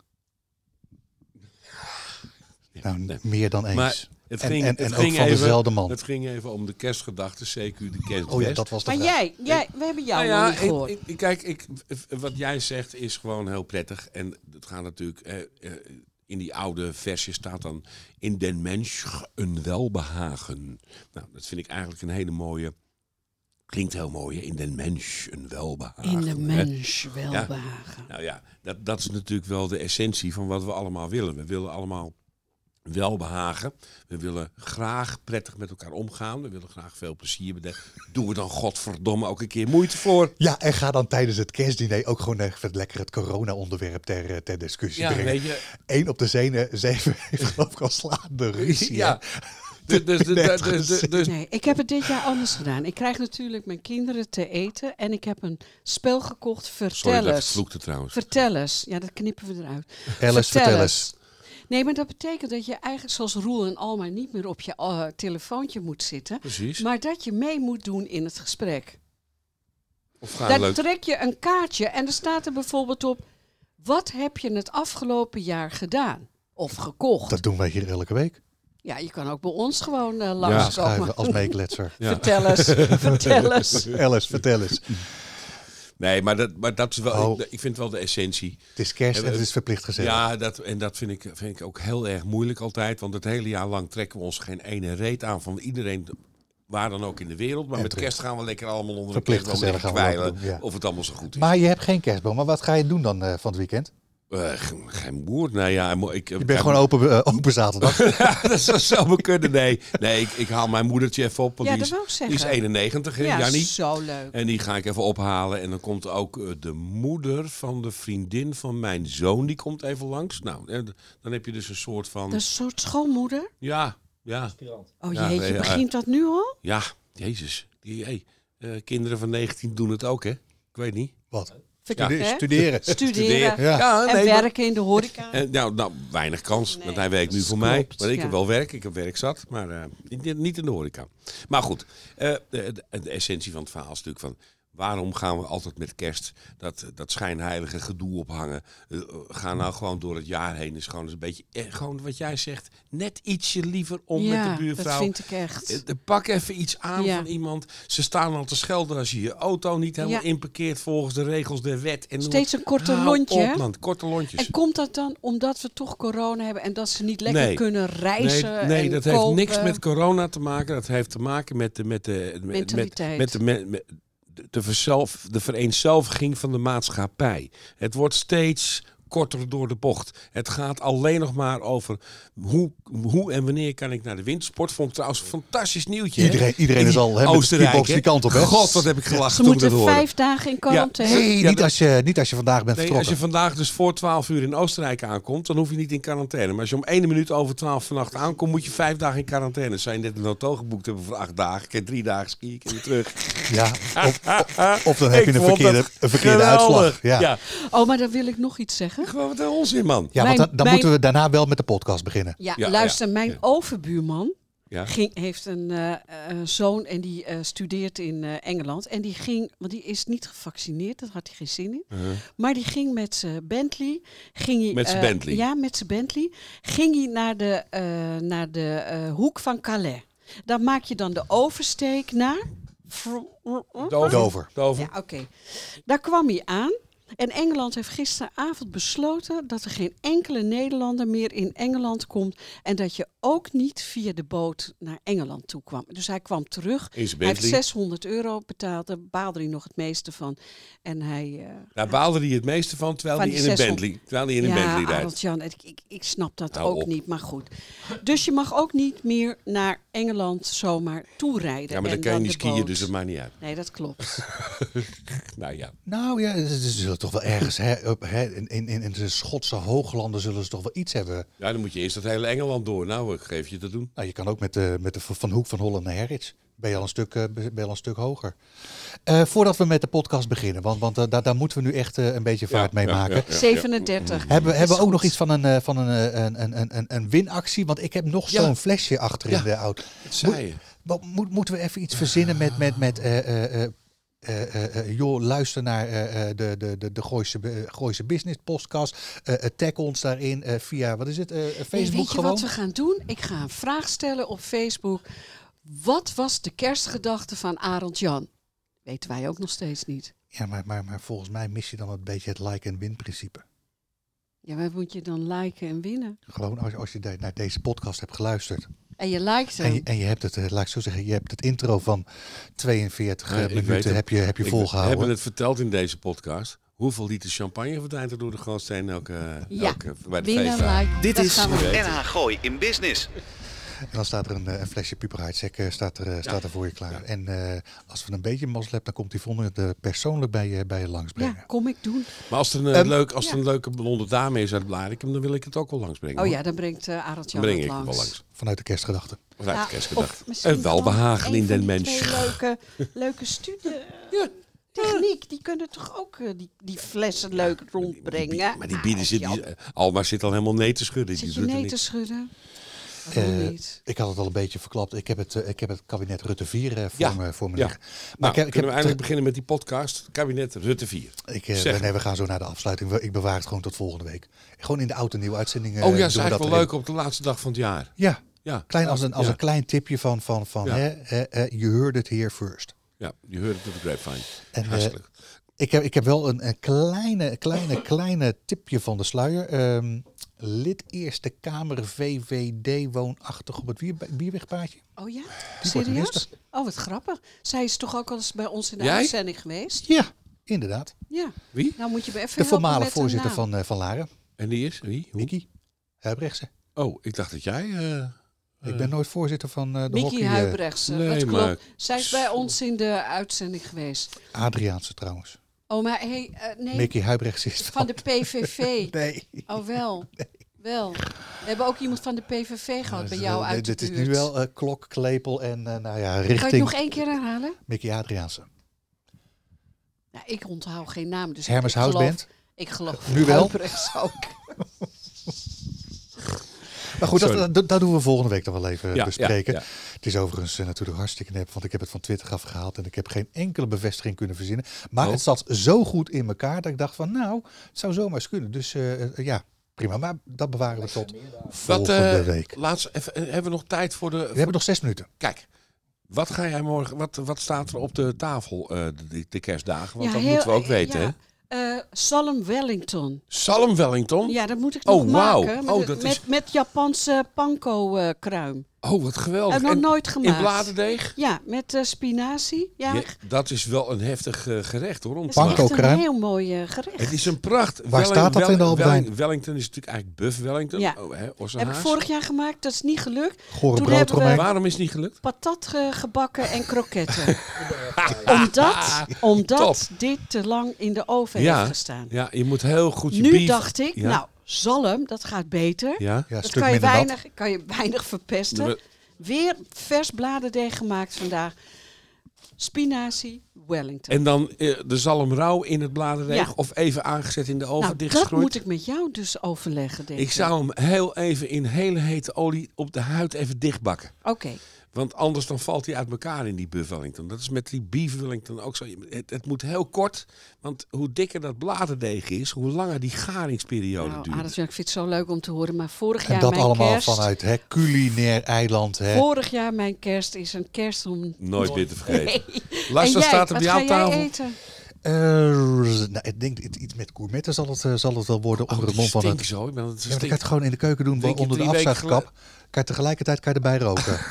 Speaker 2: Nou,
Speaker 1: nee.
Speaker 2: meer dan eens.
Speaker 1: Maar het
Speaker 2: En-
Speaker 1: ging,
Speaker 2: en- en
Speaker 1: het
Speaker 2: ook
Speaker 1: ging
Speaker 2: van
Speaker 1: even,
Speaker 2: dezelfde man.
Speaker 1: Het ging even om de kerstgedachte, CQ de kerst.
Speaker 2: oh ja, dat was de
Speaker 5: Maar
Speaker 2: vraag.
Speaker 5: jij, jij, we hebben jou
Speaker 1: Nou
Speaker 5: nog
Speaker 1: ja,
Speaker 5: niet gehoord.
Speaker 1: ik- ik- kijk, ik, wat jij zegt is gewoon heel prettig. En het gaat natuurlijk. eh, eh, in die oude versie staat dan. In den mens een welbehagen. Nou, dat vind ik eigenlijk een hele mooie. Klinkt heel mooi. hè? In den mens een welbehagen.
Speaker 5: In de
Speaker 1: hè?
Speaker 5: mens welbehagen.
Speaker 1: Nou ja, dat, dat is natuurlijk wel de essentie van wat we allemaal willen. We willen allemaal welbehagen. We willen graag prettig met elkaar omgaan. We willen graag veel plezier bedenken. Doen we dan godverdomme ook een keer moeite voor?
Speaker 2: Ja, en ga dan tijdens het kerstdiner ook gewoon even lekker het corona-onderwerp ter, eh, ter discussie
Speaker 1: Ja,
Speaker 2: brengen.
Speaker 1: weet je.
Speaker 2: Eén op de zene, zeven [laughs] heeft geloof ik al slaande ruzie.
Speaker 1: Ja.
Speaker 2: hè?
Speaker 1: [laughs] Dus, dus, dus,
Speaker 2: Net
Speaker 1: dus- dus- dus-
Speaker 5: Nee, ik heb het dit jaar anders gedaan. Ik krijg natuurlijk mijn kinderen te eten en ik heb een spel gekocht,
Speaker 1: Sorry dat ik
Speaker 5: Vertellers.
Speaker 1: vloekte trouwens.
Speaker 5: Vertel eens. Ja, dat knippen we eruit.
Speaker 2: Alice, vertel eens.
Speaker 5: Nee, maar dat betekent dat je eigenlijk zoals Roel en Alma niet meer op je eh, telefoontje moet zitten.
Speaker 1: Precies.
Speaker 5: Maar dat je mee moet doen in het gesprek.
Speaker 1: Of gaan
Speaker 5: Dan
Speaker 1: Ah, leuk.
Speaker 5: trek je een kaartje en er staat er bijvoorbeeld op... Wat heb je het afgelopen jaar gedaan? Of gekocht?
Speaker 2: Dat doen wij hier elke week.
Speaker 5: Ja, je kan ook bij ons gewoon eh
Speaker 1: Ja,
Speaker 5: langskomen.
Speaker 1: [laughs]
Speaker 2: Schuiven als meekletser.
Speaker 1: Ja.
Speaker 2: [laughs]
Speaker 5: Vertel eens, vertel eens.
Speaker 2: Alice, vertel eens.
Speaker 1: Nee, maar dat, maar dat is wel.
Speaker 2: Oh.
Speaker 1: Ik ik vind wel de essentie.
Speaker 2: Het is kerst en
Speaker 1: Ja,
Speaker 2: het is verplicht gezellig.
Speaker 1: Ja, dat, en dat vind ik, vind ik ook heel erg moeilijk altijd. Want het hele jaar lang trekken we ons geen ene reet aan van iedereen. Waar dan ook in de wereld. Maar
Speaker 2: En
Speaker 1: met
Speaker 2: terug.
Speaker 1: kerst gaan we lekker allemaal onder
Speaker 2: Verplicht
Speaker 1: de kerstboom
Speaker 2: gezellig
Speaker 1: liggen
Speaker 2: gaan we
Speaker 1: kwijlen.
Speaker 2: lopen, ja.
Speaker 1: Of het allemaal zo goed is.
Speaker 2: Maar je hebt geen kerstboom. Maar wat ga je doen dan eh, van het weekend?
Speaker 1: Eh, geen- geen boer. Nou ja, mo- ik,
Speaker 2: Je bent
Speaker 1: [laughs]
Speaker 2: gewoon open, eh, open zaterdag.
Speaker 1: dat zou zomaar kunnen. Nee, nee ik, ik haal mijn moedertje even op. Want
Speaker 5: Ja,
Speaker 1: die,
Speaker 5: dat
Speaker 1: is,
Speaker 5: wou ik
Speaker 1: die is
Speaker 5: zeggen.
Speaker 1: 91, hè,
Speaker 5: ja,
Speaker 1: Jannie?
Speaker 5: zo leuk.
Speaker 1: En die ga ik even ophalen. En dan komt ook eh, de moeder van de vriendin van mijn zoon. Die komt even langs. Nou, eh, d- dan heb je dus een soort van.
Speaker 5: Dat is een soort schoonmoeder.
Speaker 1: Ja, ja,
Speaker 5: Oh
Speaker 1: Ja,
Speaker 5: jee,
Speaker 1: nee,
Speaker 5: je
Speaker 1: ja.
Speaker 5: begint dat nu al?
Speaker 1: ja. Jezus. Die, hey, eh, kinderen van 19 doen het ook, hè? Ik weet niet.
Speaker 2: Wat?
Speaker 5: Vertel,
Speaker 2: Stude-
Speaker 1: [laughs]
Speaker 5: hè?
Speaker 2: Studeren.
Speaker 5: Studeren.
Speaker 2: Ja.
Speaker 5: En
Speaker 1: nee, maar-
Speaker 5: werken in de horeca.
Speaker 1: eh, nou, nou, weinig kans, want hij werkt nu
Speaker 5: dat
Speaker 1: voor mij.
Speaker 5: klopt,
Speaker 1: Maar ik
Speaker 5: ja.
Speaker 1: heb wel werk, ik heb werk zat, maar eh, niet, niet in de horeca. Maar goed, eh, de, de- de essentie van het verhaal is natuurlijk van... waarom gaan we altijd met kerst dat, dat schijnheilige gedoe ophangen? Eh, ga nou gewoon door het jaar heen, is gewoon eens een beetje... eh, gewoon wat jij zegt, net ietsje liever om
Speaker 5: ja,
Speaker 1: met de buurvrouw.
Speaker 5: dat vind ik echt.
Speaker 1: Eh, eh, Pak even iets aan
Speaker 5: Ja.
Speaker 1: van iemand. Ze staan al te schelden als je je auto niet helemaal
Speaker 5: Ja.
Speaker 1: inparkeert volgens de regels der wet. En noem
Speaker 5: Steeds
Speaker 1: het-
Speaker 5: een korte
Speaker 1: Hou
Speaker 5: lontje,
Speaker 1: op,
Speaker 5: hè?
Speaker 1: man, korte lontjes.
Speaker 5: En komt dat dan omdat we toch corona hebben en dat ze niet lekker
Speaker 1: Nee.
Speaker 5: kunnen reizen?
Speaker 1: Nee, nee
Speaker 5: eh, en eh,
Speaker 1: dat
Speaker 5: kopen?
Speaker 1: heeft niks met corona te maken. Dat heeft te maken met de, met de met- Met,
Speaker 5: Mentaliteit.
Speaker 1: met de, met, met de, verzelf, de vereenzelviging van de maatschappij. Het wordt steeds korter door de bocht. Het gaat alleen nog maar over hoe, hoe en wanneer kan ik naar de wintersport. Vond ik trouwens een fantastisch nieuwtje. hè?
Speaker 2: Iedereen- iedereen
Speaker 1: In
Speaker 2: is
Speaker 1: die
Speaker 2: al, hè, met de
Speaker 1: Oostenrijk,
Speaker 2: skibox die
Speaker 1: hè?
Speaker 2: kant op, hè?
Speaker 1: God, wat heb ik gelachen
Speaker 5: Ze
Speaker 1: toen ik dat
Speaker 5: moeten
Speaker 1: hoorde.
Speaker 5: vijf dagen in quarantaine.
Speaker 1: Nee,
Speaker 2: niet, als je, niet als je vandaag bent
Speaker 1: Nee, als
Speaker 2: vertrokken.
Speaker 1: je vandaag dus voor 12 uur in Oostenrijk aankomt, dan hoef je niet in quarantaine. Maar als je om 1 minuut over 12 vannacht aankomt, moet je vijf dagen in quarantaine. Zijn net een hotel geboekt hebben voor acht dagen. Ik heb drie dagen skiën, ik weer terug.
Speaker 2: Ja, of, of-
Speaker 1: [laughs]
Speaker 2: of dan heb je
Speaker 1: Ik
Speaker 2: een
Speaker 1: vond
Speaker 2: verkeerde,
Speaker 1: dat
Speaker 2: een verkeerde
Speaker 1: geweldig.
Speaker 2: uitslag. Ja. Ja.
Speaker 5: Oh, maar dan wil ik nog iets zeggen.
Speaker 1: Gewoon wat een onzin, man.
Speaker 2: want
Speaker 5: Mijn-
Speaker 2: dan, dan
Speaker 5: mijn-
Speaker 2: moeten we daarna wel met de podcast beginnen.
Speaker 5: Ja,
Speaker 1: Ja,
Speaker 5: luister,
Speaker 1: ja,
Speaker 5: mijn
Speaker 1: ja.
Speaker 5: overbuurman
Speaker 1: Ja.
Speaker 5: ging, heeft een eh, eh, zoon en die eh, studeert in eh, Engeland. En die ging, want die is niet gevaccineerd, daar had hij geen zin in. Maar die ging met zijn Bentley. Ging hij,
Speaker 1: Uh-huh. Met z'n
Speaker 5: eh,
Speaker 1: Bentley?
Speaker 5: Ja, met zijn Bentley. Ging hij naar de, eh, naar de eh, hoek van Calais. Daar maak je dan de oversteek naar.
Speaker 1: Dover.
Speaker 2: Dover.
Speaker 1: Dover.
Speaker 5: Ja, oké. Daar kwam hij aan. En Engeland heeft gisteravond besloten dat er geen enkele Nederlander meer in Engeland komt. En dat je ook niet via de boot naar Engeland toe kwam. Dus hij kwam terug.
Speaker 1: In zijn
Speaker 5: Hij heeft
Speaker 1: Bentley.
Speaker 5: 600 euro betaald. Daar baalde hij nog het meeste van. En hij. eh,
Speaker 1: Daar baalde hij het meeste van, terwijl
Speaker 5: Van
Speaker 1: hij
Speaker 5: die
Speaker 1: in een
Speaker 5: 600.
Speaker 1: Bentley, terwijl hij in een
Speaker 5: ja,
Speaker 1: Bentley rijdt.
Speaker 5: Arnold Jan, ik, ik, ik snap dat
Speaker 1: Hou
Speaker 5: ook
Speaker 1: op.
Speaker 5: niet. Maar goed. Dus je mag ook niet meer naar Engeland zomaar toerijden.
Speaker 1: Ja, maar
Speaker 5: en
Speaker 1: dan kan je niet
Speaker 5: de
Speaker 1: skiën,
Speaker 5: boot.
Speaker 1: dus dat maakt niet uit.
Speaker 5: Nee, dat klopt.
Speaker 1: Nou ja.
Speaker 2: Nou ja, ze ze zullen toch wel ergens, hè, op, hè, in, in, in de Schotse hooglanden zullen ze toch wel iets hebben.
Speaker 1: ja, dan moet je eerst dat hele Engeland door. Nou, ik geef je te doen.
Speaker 2: Nou, je kan ook met de, met de v- van Hoek van Holland naar Herrits. Ben je al een stuk, eh, ben je al een stuk hoger. Eh, voordat we met de podcast beginnen, want, want eh, daar, daar moeten we nu echt eh, een beetje vaart mee
Speaker 1: [laughs]
Speaker 2: maken.
Speaker 1: ja, ja.
Speaker 5: 37.
Speaker 2: Hebben, we- hebben we ook nog
Speaker 5: goed.
Speaker 2: iets van een, eh, van een, eh, een, een, een, een- een winactie? Want ik heb nog
Speaker 1: Ja.
Speaker 2: zo'n flesje achter in
Speaker 1: Ja,
Speaker 2: de auto.
Speaker 1: zei je.
Speaker 2: Moet, moet- moeten we even iets verzinnen met, met, met eh, eh, eh, eh, eh, eh, joh, luister naar eh, eh, de, de, de, de Gooise, eh, Gooise Business podcast. Eh, eh, tag ons daarin eh, via, wat is het, eh,
Speaker 5: Nee,
Speaker 2: Facebook
Speaker 5: weet je
Speaker 2: gewoon?
Speaker 5: wat we gaan doen? Ik ga een vraag stellen op Facebook. Wat was de kerstgedachte van Arend Jan? Weten wij ook nog steeds niet.
Speaker 2: Ja, maar, maar, maar volgens mij mis je dan een beetje het like-and-win principe.
Speaker 5: Ja, maar moet je dan liken en winnen?
Speaker 2: Gewoon als, als je de- naar deze podcast hebt geluisterd.
Speaker 5: En je liked hem.
Speaker 2: En je, en je hebt het, eh, laat ik zo zeggen, je hebt het intro van 42
Speaker 1: Ja, ik weet
Speaker 2: minuten
Speaker 1: het.
Speaker 2: heb je, heb je
Speaker 1: Ik-
Speaker 2: volgehouden.
Speaker 1: We hebben het verteld in deze podcast. Hoeveel liter champagne verdwijnt er door de gootsteen elke,
Speaker 5: Ja.
Speaker 1: elke, bij de
Speaker 5: winnen,
Speaker 1: feestdagen?
Speaker 5: like.
Speaker 3: Dit
Speaker 5: dat
Speaker 3: is
Speaker 5: gaan we doen.
Speaker 3: NH Gooi in Business.
Speaker 2: En dan staat er een, eh, een flesje puberheidsek eh, staat er, eh, staat er voor je klaar. En eh, als we een beetje mazzel hebben, dan komt die Yvonne het eh, persoonlijk bij je, bij je langsbrengen.
Speaker 5: Ja, kom ik doen.
Speaker 1: Maar als er een, eh,
Speaker 2: Ehm,
Speaker 1: leuk, als er een leuke blonde dame is uit Blarikum, dan wil ik het ook wel langsbrengen.
Speaker 5: Oh
Speaker 1: hoor.
Speaker 5: ja, dan brengt eh
Speaker 1: dan
Speaker 5: Arend Jan
Speaker 1: breng
Speaker 5: het
Speaker 1: ik het
Speaker 5: langs.
Speaker 1: wel langs.
Speaker 2: Vanuit de kerstgedachte.
Speaker 1: Vanuit de
Speaker 5: Ja,
Speaker 1: kerstgedacht.
Speaker 5: of misschien
Speaker 1: En welbehagen
Speaker 5: gewoon
Speaker 1: in
Speaker 5: een
Speaker 1: den
Speaker 5: van die
Speaker 1: mens.
Speaker 5: twee Leuke, leuke studie. Techniek, die kunnen toch ook eh, die, die flessen leuk
Speaker 1: [laughs]
Speaker 5: rondbrengen? Ah,
Speaker 1: Maar die bieden zit,
Speaker 5: zitten.
Speaker 1: die, Alma zit al helemaal nee te schudden.
Speaker 5: Zit je
Speaker 1: Die doet er
Speaker 5: nee te
Speaker 1: niks.
Speaker 5: schudden? Waarom
Speaker 2: Eh,
Speaker 5: niet?
Speaker 2: Ik had het al een beetje verklapt. Ik heb het, eh, ik heb het kabinet Rutte 4 eh, voor,
Speaker 1: Ja.
Speaker 2: me, voor me
Speaker 1: Ja.
Speaker 2: liggen. Maar
Speaker 1: Nou,
Speaker 2: ik, heb-
Speaker 1: kunnen
Speaker 2: ik
Speaker 1: we
Speaker 2: heb
Speaker 1: eindelijk beginnen met die podcast. Kabinet Rutte Oh 4.
Speaker 2: Ik, eh,
Speaker 1: Zeg.
Speaker 2: nee, we gaan zo naar de afsluiting. We- Ik bewaar het gewoon tot volgende week. Gewoon in de oude nieuwe uitzending. eh,
Speaker 1: oh ja,
Speaker 2: doen
Speaker 1: is
Speaker 2: we
Speaker 1: eigenlijk wel
Speaker 2: erin.
Speaker 1: leuk op de laatste dag van het jaar.
Speaker 2: Ja,
Speaker 1: Ja,
Speaker 2: klein, als, een, als
Speaker 1: Ja.
Speaker 2: een klein tipje van, van, van
Speaker 1: Ja.
Speaker 2: hè, hè, hè, je heard het hier first.
Speaker 1: ja je hoort het op de grapevine.
Speaker 2: En, eh,
Speaker 1: Hartstikke leuk.
Speaker 2: Ik Ik heb, ik heb wel een, een
Speaker 1: [laughs]
Speaker 2: kleine, kleine, kleine tipje van de sluier. Ehm, lid Eerste Kamer VVD woonachtig op het bier, bierwegpaadje.
Speaker 5: Oh ja?
Speaker 2: minister.
Speaker 5: Serieus? Oh, wat grappig. Zij is toch ook al eens bij ons in de
Speaker 1: Jij?
Speaker 5: uitzending geweest?
Speaker 2: Ja, inderdaad.
Speaker 5: Ja.
Speaker 1: Wie?
Speaker 5: Nou moet je me even
Speaker 2: De
Speaker 5: helpen
Speaker 2: voormalig
Speaker 5: met de
Speaker 2: voorzitter
Speaker 5: naam.
Speaker 2: van, eh, van Laren,
Speaker 1: En die is? Wie? Hoe?
Speaker 2: Mickey Huibrechtse.
Speaker 1: Oh, ik dacht dat jij... eh,
Speaker 2: Ik ben nooit voorzitter van eh, de
Speaker 5: Mickey
Speaker 2: hockey. eh,
Speaker 5: Huibrechts. eh,
Speaker 1: nee,
Speaker 5: dat klopt.
Speaker 1: maar-
Speaker 5: Zij is bij ons in de uitzending geweest.
Speaker 2: Adriaanse trouwens.
Speaker 5: Oh, maar hey, eh, nee,
Speaker 2: Mickey Huibrechts is
Speaker 5: van de
Speaker 2: [laughs]
Speaker 5: PVV.
Speaker 2: Nee.
Speaker 5: Oh, wel. Wel. We hebben ook iemand van de PVV gehad bij jou
Speaker 2: Eh,
Speaker 5: uit de
Speaker 2: Dit is nu
Speaker 5: buurt.
Speaker 2: wel eh, klok, klepel en eh, nou ja,
Speaker 5: Kan je het
Speaker 2: richting
Speaker 5: nog één keer herhalen?
Speaker 2: Mickey Adriaanse.
Speaker 5: Nou, ik onthoud geen naam. Dus
Speaker 2: Hermes
Speaker 5: ik geloof-
Speaker 2: Houseband.
Speaker 5: Ik geloof
Speaker 2: Nu wel?
Speaker 5: Huibrechts ook.
Speaker 2: [laughs] Maar goed,
Speaker 1: Sorry.
Speaker 2: dat, dat, dat doen we volgende week dan wel even eh,
Speaker 1: Ja,
Speaker 2: bespreken.
Speaker 1: ja, ja.
Speaker 2: Het is overigens eh, natuurlijk hartstikke nep, want ik heb het van Twitter afgehaald en ik heb geen enkele bevestiging kunnen verzinnen. Maar
Speaker 1: Oh.
Speaker 2: het zat zo goed in elkaar dat ik dacht van nou, het zou zomaar eens kunnen. Dus eh, eh, ja, prima. Maar dat bewaren we tot
Speaker 1: Wat,
Speaker 2: volgende
Speaker 1: eh,
Speaker 2: week.
Speaker 1: Laatst, even, eh, hebben we nog tijd voor de...
Speaker 2: We hebben nog zes minuten.
Speaker 1: Kijk, wat ga jij morgen... Wat, wat staat er op de tafel eh, de, de kerstdagen? Want
Speaker 5: Ja,
Speaker 1: dat
Speaker 5: heel-
Speaker 1: moeten we ook weten,
Speaker 5: ja.
Speaker 1: hè?
Speaker 5: Eh, Salem Wellington.
Speaker 1: Salm Wellington?
Speaker 5: Ja, dat moet ik
Speaker 1: Oh,
Speaker 5: nog
Speaker 1: wauw.
Speaker 5: maken. Met,
Speaker 1: Oh, dat
Speaker 5: met,
Speaker 1: is-
Speaker 5: met Japanse panko-kruim.
Speaker 1: Oh, wat geweldig.
Speaker 5: Heb ik nog
Speaker 1: En
Speaker 5: nooit gemaakt.
Speaker 1: In bladerdeeg?
Speaker 5: ja, met eh, spinazie. Ja,
Speaker 1: Ja, dat is wel een heftig eh, gerecht, hoor. om te
Speaker 5: dat is
Speaker 1: maken.
Speaker 5: echt een
Speaker 2: Panko-kruim.
Speaker 5: heel mooi eh, gerecht.
Speaker 1: Het is een pracht. Waar
Speaker 2: staat dat in de Albert Heijn?
Speaker 1: Wellington is natuurlijk eigenlijk Buff Wellington.
Speaker 5: Ja.
Speaker 1: Oh, hè, Orse
Speaker 5: Heb ik
Speaker 1: Haas.
Speaker 5: vorig jaar gemaakt, dat is niet gelukt.
Speaker 2: Gore
Speaker 5: Toen
Speaker 2: brood
Speaker 5: hebben we-
Speaker 2: eromheen.
Speaker 1: Waarom is het niet gelukt?
Speaker 5: Patat eh, gebakken en
Speaker 1: [laughs]
Speaker 5: kroketten. omdat omdat dit te lang in de oven heeft gestaan.
Speaker 1: ja, je moet heel goed je
Speaker 5: nu
Speaker 1: beef-
Speaker 5: dacht ik,
Speaker 1: Ja,
Speaker 5: nou, zalm, dat gaat beter.
Speaker 1: Ja.
Speaker 2: Ja, een
Speaker 5: dat
Speaker 2: stuk
Speaker 5: kan je,
Speaker 2: minder nat.
Speaker 5: weinig, kan je [laughs] weinig verpesten.
Speaker 1: We-
Speaker 5: Weer vers bladerdeeg gemaakt vandaag. Spinazie, Wellington.
Speaker 1: En dan eh, de zalm rauw in het bladerdeeg.
Speaker 5: Ja.
Speaker 1: Of even aangezet in de oven,
Speaker 5: nou, dat
Speaker 1: dichtgeschroeid.
Speaker 5: moet ik met jou dus overleggen, denk ik.
Speaker 1: Ik zou hem heel even in hele hete olie op de huid even dichtbakken.
Speaker 5: Oké,
Speaker 1: Want anders dan valt hij uit elkaar in die Buff Wellington. Dat is met die Beef Wellington ook zo. Je- Het, het moet heel kort. Want hoe dikker dat bladerdeeg is, hoe langer die garingsperiode
Speaker 5: nou,
Speaker 1: duurt.
Speaker 5: Arendt, ik vind het zo leuk om te horen. Maar vorig
Speaker 2: En
Speaker 5: jaar
Speaker 2: dat
Speaker 5: mijn
Speaker 2: allemaal
Speaker 5: kerst...
Speaker 2: vanuit hè, culinair eiland. Hè.
Speaker 5: Vorig jaar mijn kerst is een kerst om...
Speaker 1: Nooit meer te vergeten.
Speaker 5: Nee.
Speaker 1: Lars,
Speaker 5: [laughs] En
Speaker 1: wat
Speaker 5: jij,
Speaker 1: staat er
Speaker 5: wat
Speaker 1: bij jou
Speaker 5: ga
Speaker 1: op
Speaker 5: jij
Speaker 1: tafel?
Speaker 5: eten?
Speaker 2: Eh, nou, ik denk het- iets met gourmetten zal het, eh, zal het wel worden
Speaker 5: Oh,
Speaker 2: onder de
Speaker 1: het
Speaker 2: mond van het
Speaker 1: stinkt zo. Ik ben het
Speaker 2: Ja, maar dan
Speaker 1: stinkt.
Speaker 2: kan je het gewoon in de keuken doen,
Speaker 1: Denk je
Speaker 2: onder de
Speaker 1: drie weken
Speaker 2: afzuigkap. Kan je tegelijkertijd kan je erbij roken.
Speaker 5: [laughs]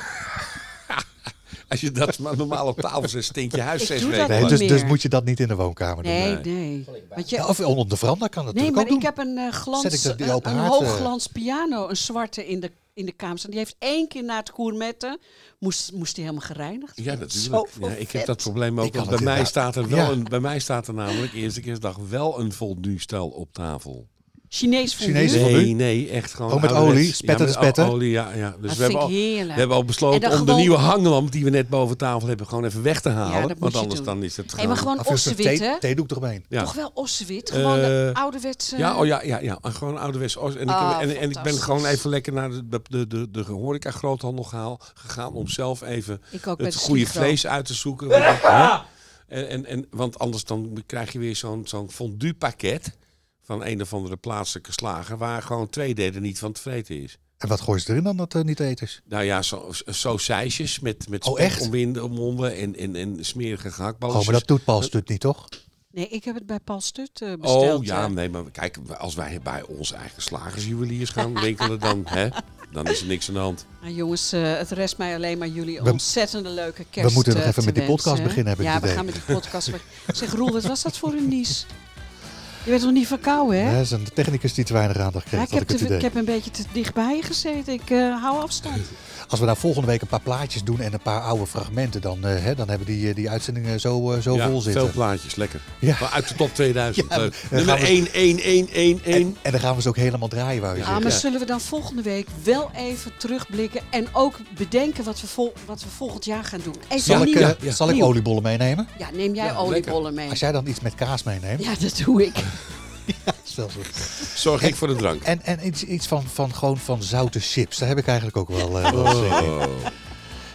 Speaker 1: Als je dat maar normaal op tafel zet, stinkt je huis
Speaker 5: Ik
Speaker 1: zes
Speaker 5: doe
Speaker 1: weken
Speaker 5: dat
Speaker 2: nee,
Speaker 1: lang.
Speaker 5: niet.
Speaker 2: dus, dus
Speaker 5: meer.
Speaker 2: moet je dat niet in de woonkamer doen.
Speaker 5: Nee, nee. Want
Speaker 2: Ja,
Speaker 5: je,
Speaker 2: of onder de veranda kan dat
Speaker 5: nee,
Speaker 2: natuurlijk
Speaker 5: maar
Speaker 2: ook
Speaker 5: ik
Speaker 2: doen.
Speaker 5: heb een,
Speaker 2: Zet ik
Speaker 5: eh, glans,
Speaker 2: dat die
Speaker 5: een,
Speaker 2: open
Speaker 5: een
Speaker 2: haard, eh?
Speaker 5: hoogglans piano, een zwarte in de, in de kamer staan. Die heeft één keer na het gourmetten, moest, moest die helemaal gereinigd
Speaker 1: Ja,
Speaker 5: Oh, worden.
Speaker 1: natuurlijk.
Speaker 5: Zo
Speaker 1: Ja, ik heb
Speaker 5: vet.
Speaker 1: dat probleem
Speaker 2: Ik
Speaker 1: ook.
Speaker 2: kan
Speaker 1: want Bij
Speaker 2: het
Speaker 1: mij,
Speaker 2: inderdaad.
Speaker 1: staat er wel
Speaker 2: Ja.
Speaker 1: een, bij mij staat er namelijk eerste kerstdag wel een fondue-stel op tafel.
Speaker 5: Chinees fondue.
Speaker 2: Chinees fondue.
Speaker 1: Nee, nee, echt gewoon.
Speaker 2: Oh, met
Speaker 1: ouderwets.
Speaker 2: olie? Spetter
Speaker 1: ja,
Speaker 2: en
Speaker 1: met o-
Speaker 2: spetter?
Speaker 1: Olie, ja, ja. Dus
Speaker 5: Dat
Speaker 1: we hebben,
Speaker 5: vind ik
Speaker 1: al,
Speaker 5: heerlijk.
Speaker 1: we hebben al
Speaker 5: En
Speaker 1: besloten
Speaker 5: dan
Speaker 1: om
Speaker 5: gewoon-
Speaker 1: de nieuwe hanglamp die we net boven tafel hebben gewoon even weg te halen.
Speaker 5: dat moet
Speaker 1: want
Speaker 5: je
Speaker 1: anders
Speaker 5: doen.
Speaker 1: dan is het
Speaker 5: Hey, maar gewoon
Speaker 2: Of is er
Speaker 5: ossewit, hè?
Speaker 2: thee, theedoek eromheen.
Speaker 1: ja.
Speaker 5: Toch wel ossewit? Gewoon de
Speaker 1: Eh,
Speaker 5: ouderwetse...
Speaker 1: Ja, oh ja, ja, ja. En gewoon ouderwets. Oost. En, ik,
Speaker 5: Ah,
Speaker 1: en, en ik ben
Speaker 5: fantastisch.
Speaker 1: gewoon even lekker naar de, de, de, de horeca groothandel gehaal, gegaan om zelf even
Speaker 5: Ik ook
Speaker 1: het
Speaker 5: met
Speaker 1: goede
Speaker 5: Sligro.
Speaker 1: vlees uit te zoeken. Want ik- hè? en, en, en, want anders dan krijg je weer zo'n zo'n fondue pakket van een of andere plaatselijke slager waar gewoon twee derde niet van tevreden is.
Speaker 2: En wat gooien ze erin dan dat eh, niet eters?
Speaker 1: Nou ja, zo, zo sausijsjes met, met
Speaker 2: Oh,
Speaker 1: spek
Speaker 2: echt?
Speaker 1: omwinden- omwonden en, en, en smerige gehaktballen.
Speaker 2: Oh, maar dat doet Paul Stut niet,
Speaker 5: Eh?
Speaker 2: toch?
Speaker 5: Nee, ik heb het bij Paul Stut eh, besteld.
Speaker 1: Oh ja,
Speaker 5: eh.
Speaker 1: nee, maar kijk, als wij bij onze eigen slagersjuweliers gaan winkelen, dan, [laughs] hè, dan is er niks aan de hand.
Speaker 5: Nou, jongens, eh, het rest mij alleen maar jullie
Speaker 2: We-
Speaker 5: ontzettende leuke kerst.
Speaker 2: moeten nog
Speaker 5: eh,
Speaker 2: even
Speaker 5: te
Speaker 2: met die
Speaker 5: wensen,
Speaker 2: podcast
Speaker 5: hè?
Speaker 2: beginnen, heb ik
Speaker 5: Ja,
Speaker 2: het
Speaker 5: we
Speaker 2: idee.
Speaker 5: gaan met die podcast beginnen. [laughs] Zeg, Roel, wat was dat voor een nies? Je bent nog niet verkouden, hè?
Speaker 2: Ja, dat is een technicus die te weinig aandacht
Speaker 5: Ja,
Speaker 2: kreeg,
Speaker 5: ik,
Speaker 2: had
Speaker 5: heb
Speaker 2: ik het
Speaker 5: te-
Speaker 2: idee.
Speaker 5: ik heb een beetje te dichtbij je gezeten. Ik eh, hou afstand.
Speaker 2: Als we nou volgende week een paar plaatjes doen en een paar oude fragmenten, dan, eh, hè, dan hebben die, eh, die uitzendingen zo, eh, zo
Speaker 1: Ja,
Speaker 2: vol zitten.
Speaker 1: Veel plaatjes, lekker.
Speaker 2: Ja.
Speaker 1: Maar uit de top 2000.
Speaker 2: Ja,
Speaker 1: eh,
Speaker 2: dan gaan
Speaker 1: nummer
Speaker 2: we-
Speaker 1: 1, 1, 1, 1, 1.
Speaker 2: En, en dan gaan we ze ook helemaal draaien, wou je
Speaker 5: Ah,
Speaker 2: zeggen.
Speaker 5: maar zullen we dan volgende week wel even terugblikken en ook bedenken wat we, vol- wat we volgend jaar gaan doen? Even
Speaker 2: Zal ik,
Speaker 5: nieuw.
Speaker 2: eh,
Speaker 1: Ja, ja.
Speaker 2: zal ik
Speaker 5: Nieuw.
Speaker 2: oliebollen meenemen?
Speaker 5: Ja, neem jij
Speaker 1: Ja,
Speaker 5: oliebollen mee.
Speaker 2: Als jij dan iets met kaas meeneemt,
Speaker 5: Ja, dat doe ik.
Speaker 2: stel ze-
Speaker 1: Zorg ik voor de drank.
Speaker 2: En, en iets, iets van, van, gewoon van zoute chips. Daar heb ik eigenlijk ook wel, eh, wel zin in.
Speaker 1: Oh,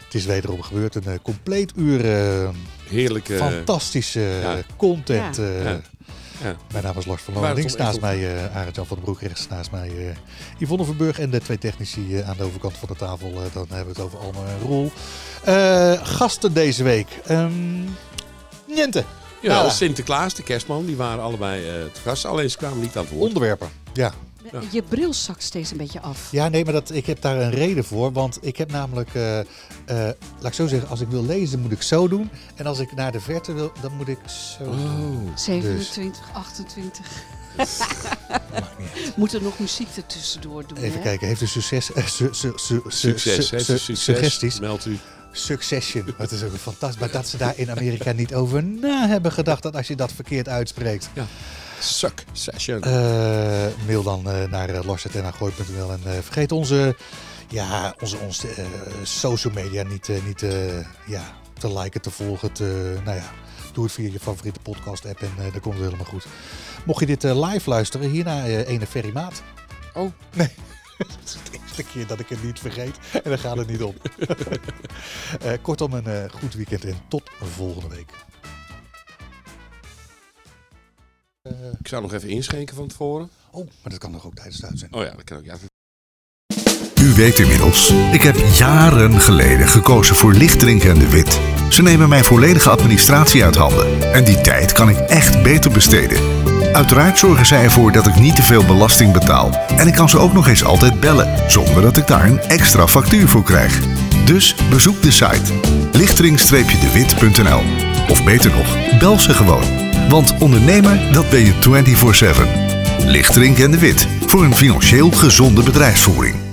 Speaker 2: Het is wederom gebeurd. Een eh, compleet uur eh,
Speaker 1: heerlijke.
Speaker 2: fantastische eh,
Speaker 1: ja.
Speaker 2: content.
Speaker 5: Ja.
Speaker 2: eh.
Speaker 1: Ja. Ja.
Speaker 2: Mijn naam is Lars van
Speaker 1: Maar
Speaker 2: Loon.
Speaker 1: het
Speaker 2: Links
Speaker 1: om-
Speaker 2: naast
Speaker 1: om-
Speaker 2: mij eh Arend-Jan van den Broek. Rechts naast mij eh, Yvonne Verburg. En de twee technici eh, aan de overkant van de tafel. eh, dan hebben we het over Anne en Roel. Eh, gasten deze week. Ehm Niente.
Speaker 1: Ja,
Speaker 2: Nou.
Speaker 1: Sinterklaas, de kerstman, die waren allebei eh, te gast. Alleen ze kwamen niet aan het woord.
Speaker 2: Onderwerpen. Ja.
Speaker 5: Je bril zakt steeds een beetje af.
Speaker 2: ja, nee, maar dat, ik heb daar een reden voor. Want ik heb namelijk, eh, eh, laat ik zo zeggen, als ik wil lezen moet ik zo doen. En als ik naar de verte wil, dan moet ik zo doen.
Speaker 1: Oh.
Speaker 5: 27, 28. Moet er nog muziek ertussendoor doen?
Speaker 2: Even
Speaker 5: hè?
Speaker 2: kijken, heeft u succes, eh, su- su- su- su-
Speaker 1: Succes,
Speaker 2: su-
Speaker 1: hè?
Speaker 2: su-
Speaker 1: Succes.
Speaker 2: suggesties?
Speaker 1: Meld u.
Speaker 2: Succession. Dat is ook een fantastisch. Maar dat ze daar in Amerika niet over na hebben gedacht dat als je dat verkeerd uitspreekt.
Speaker 1: Suck session.
Speaker 2: Eh, mail dan eh, naar uh, en eh, vergeet onze, ja, onze, onze eh, social media niet, eh, niet eh, ja, te liken, te volgen. Te, nou ja, doe het via je favoriete podcast app en eh dan komt het helemaal goed. Mocht je dit eh, live luisteren, hierna eh ene ferrymaat.
Speaker 1: Oh.
Speaker 2: Nee. [laughs] Het is de eerste keer dat ik het niet vergeet en dan gaat het niet om. Eh, kortom, een eh, goed weekend en tot volgende week. Eh,
Speaker 1: Ik zou nog even inschenken van tevoren.
Speaker 2: oh, maar dat kan nog ook tijdens het uitzending.
Speaker 1: Oh ja, dat kan ook. Ja,
Speaker 4: U weet inmiddels, ik heb jaren geleden gekozen voor lichtdrinken en de wit. Ze nemen mijn volledige administratie uit handen en die tijd kan ik echt beter besteden. Uiteraard zorgen zij ervoor dat ik niet te veel belasting betaal en ik kan ze ook nog eens altijd bellen zonder dat ik daar een extra factuur voor krijg. Dus bezoek de site lichtering-dewit.nl of beter nog, bel ze gewoon. Want ondernemer, dat ben je 24/7. Lichtering en de Wit voor een financieel gezonde bedrijfsvoering.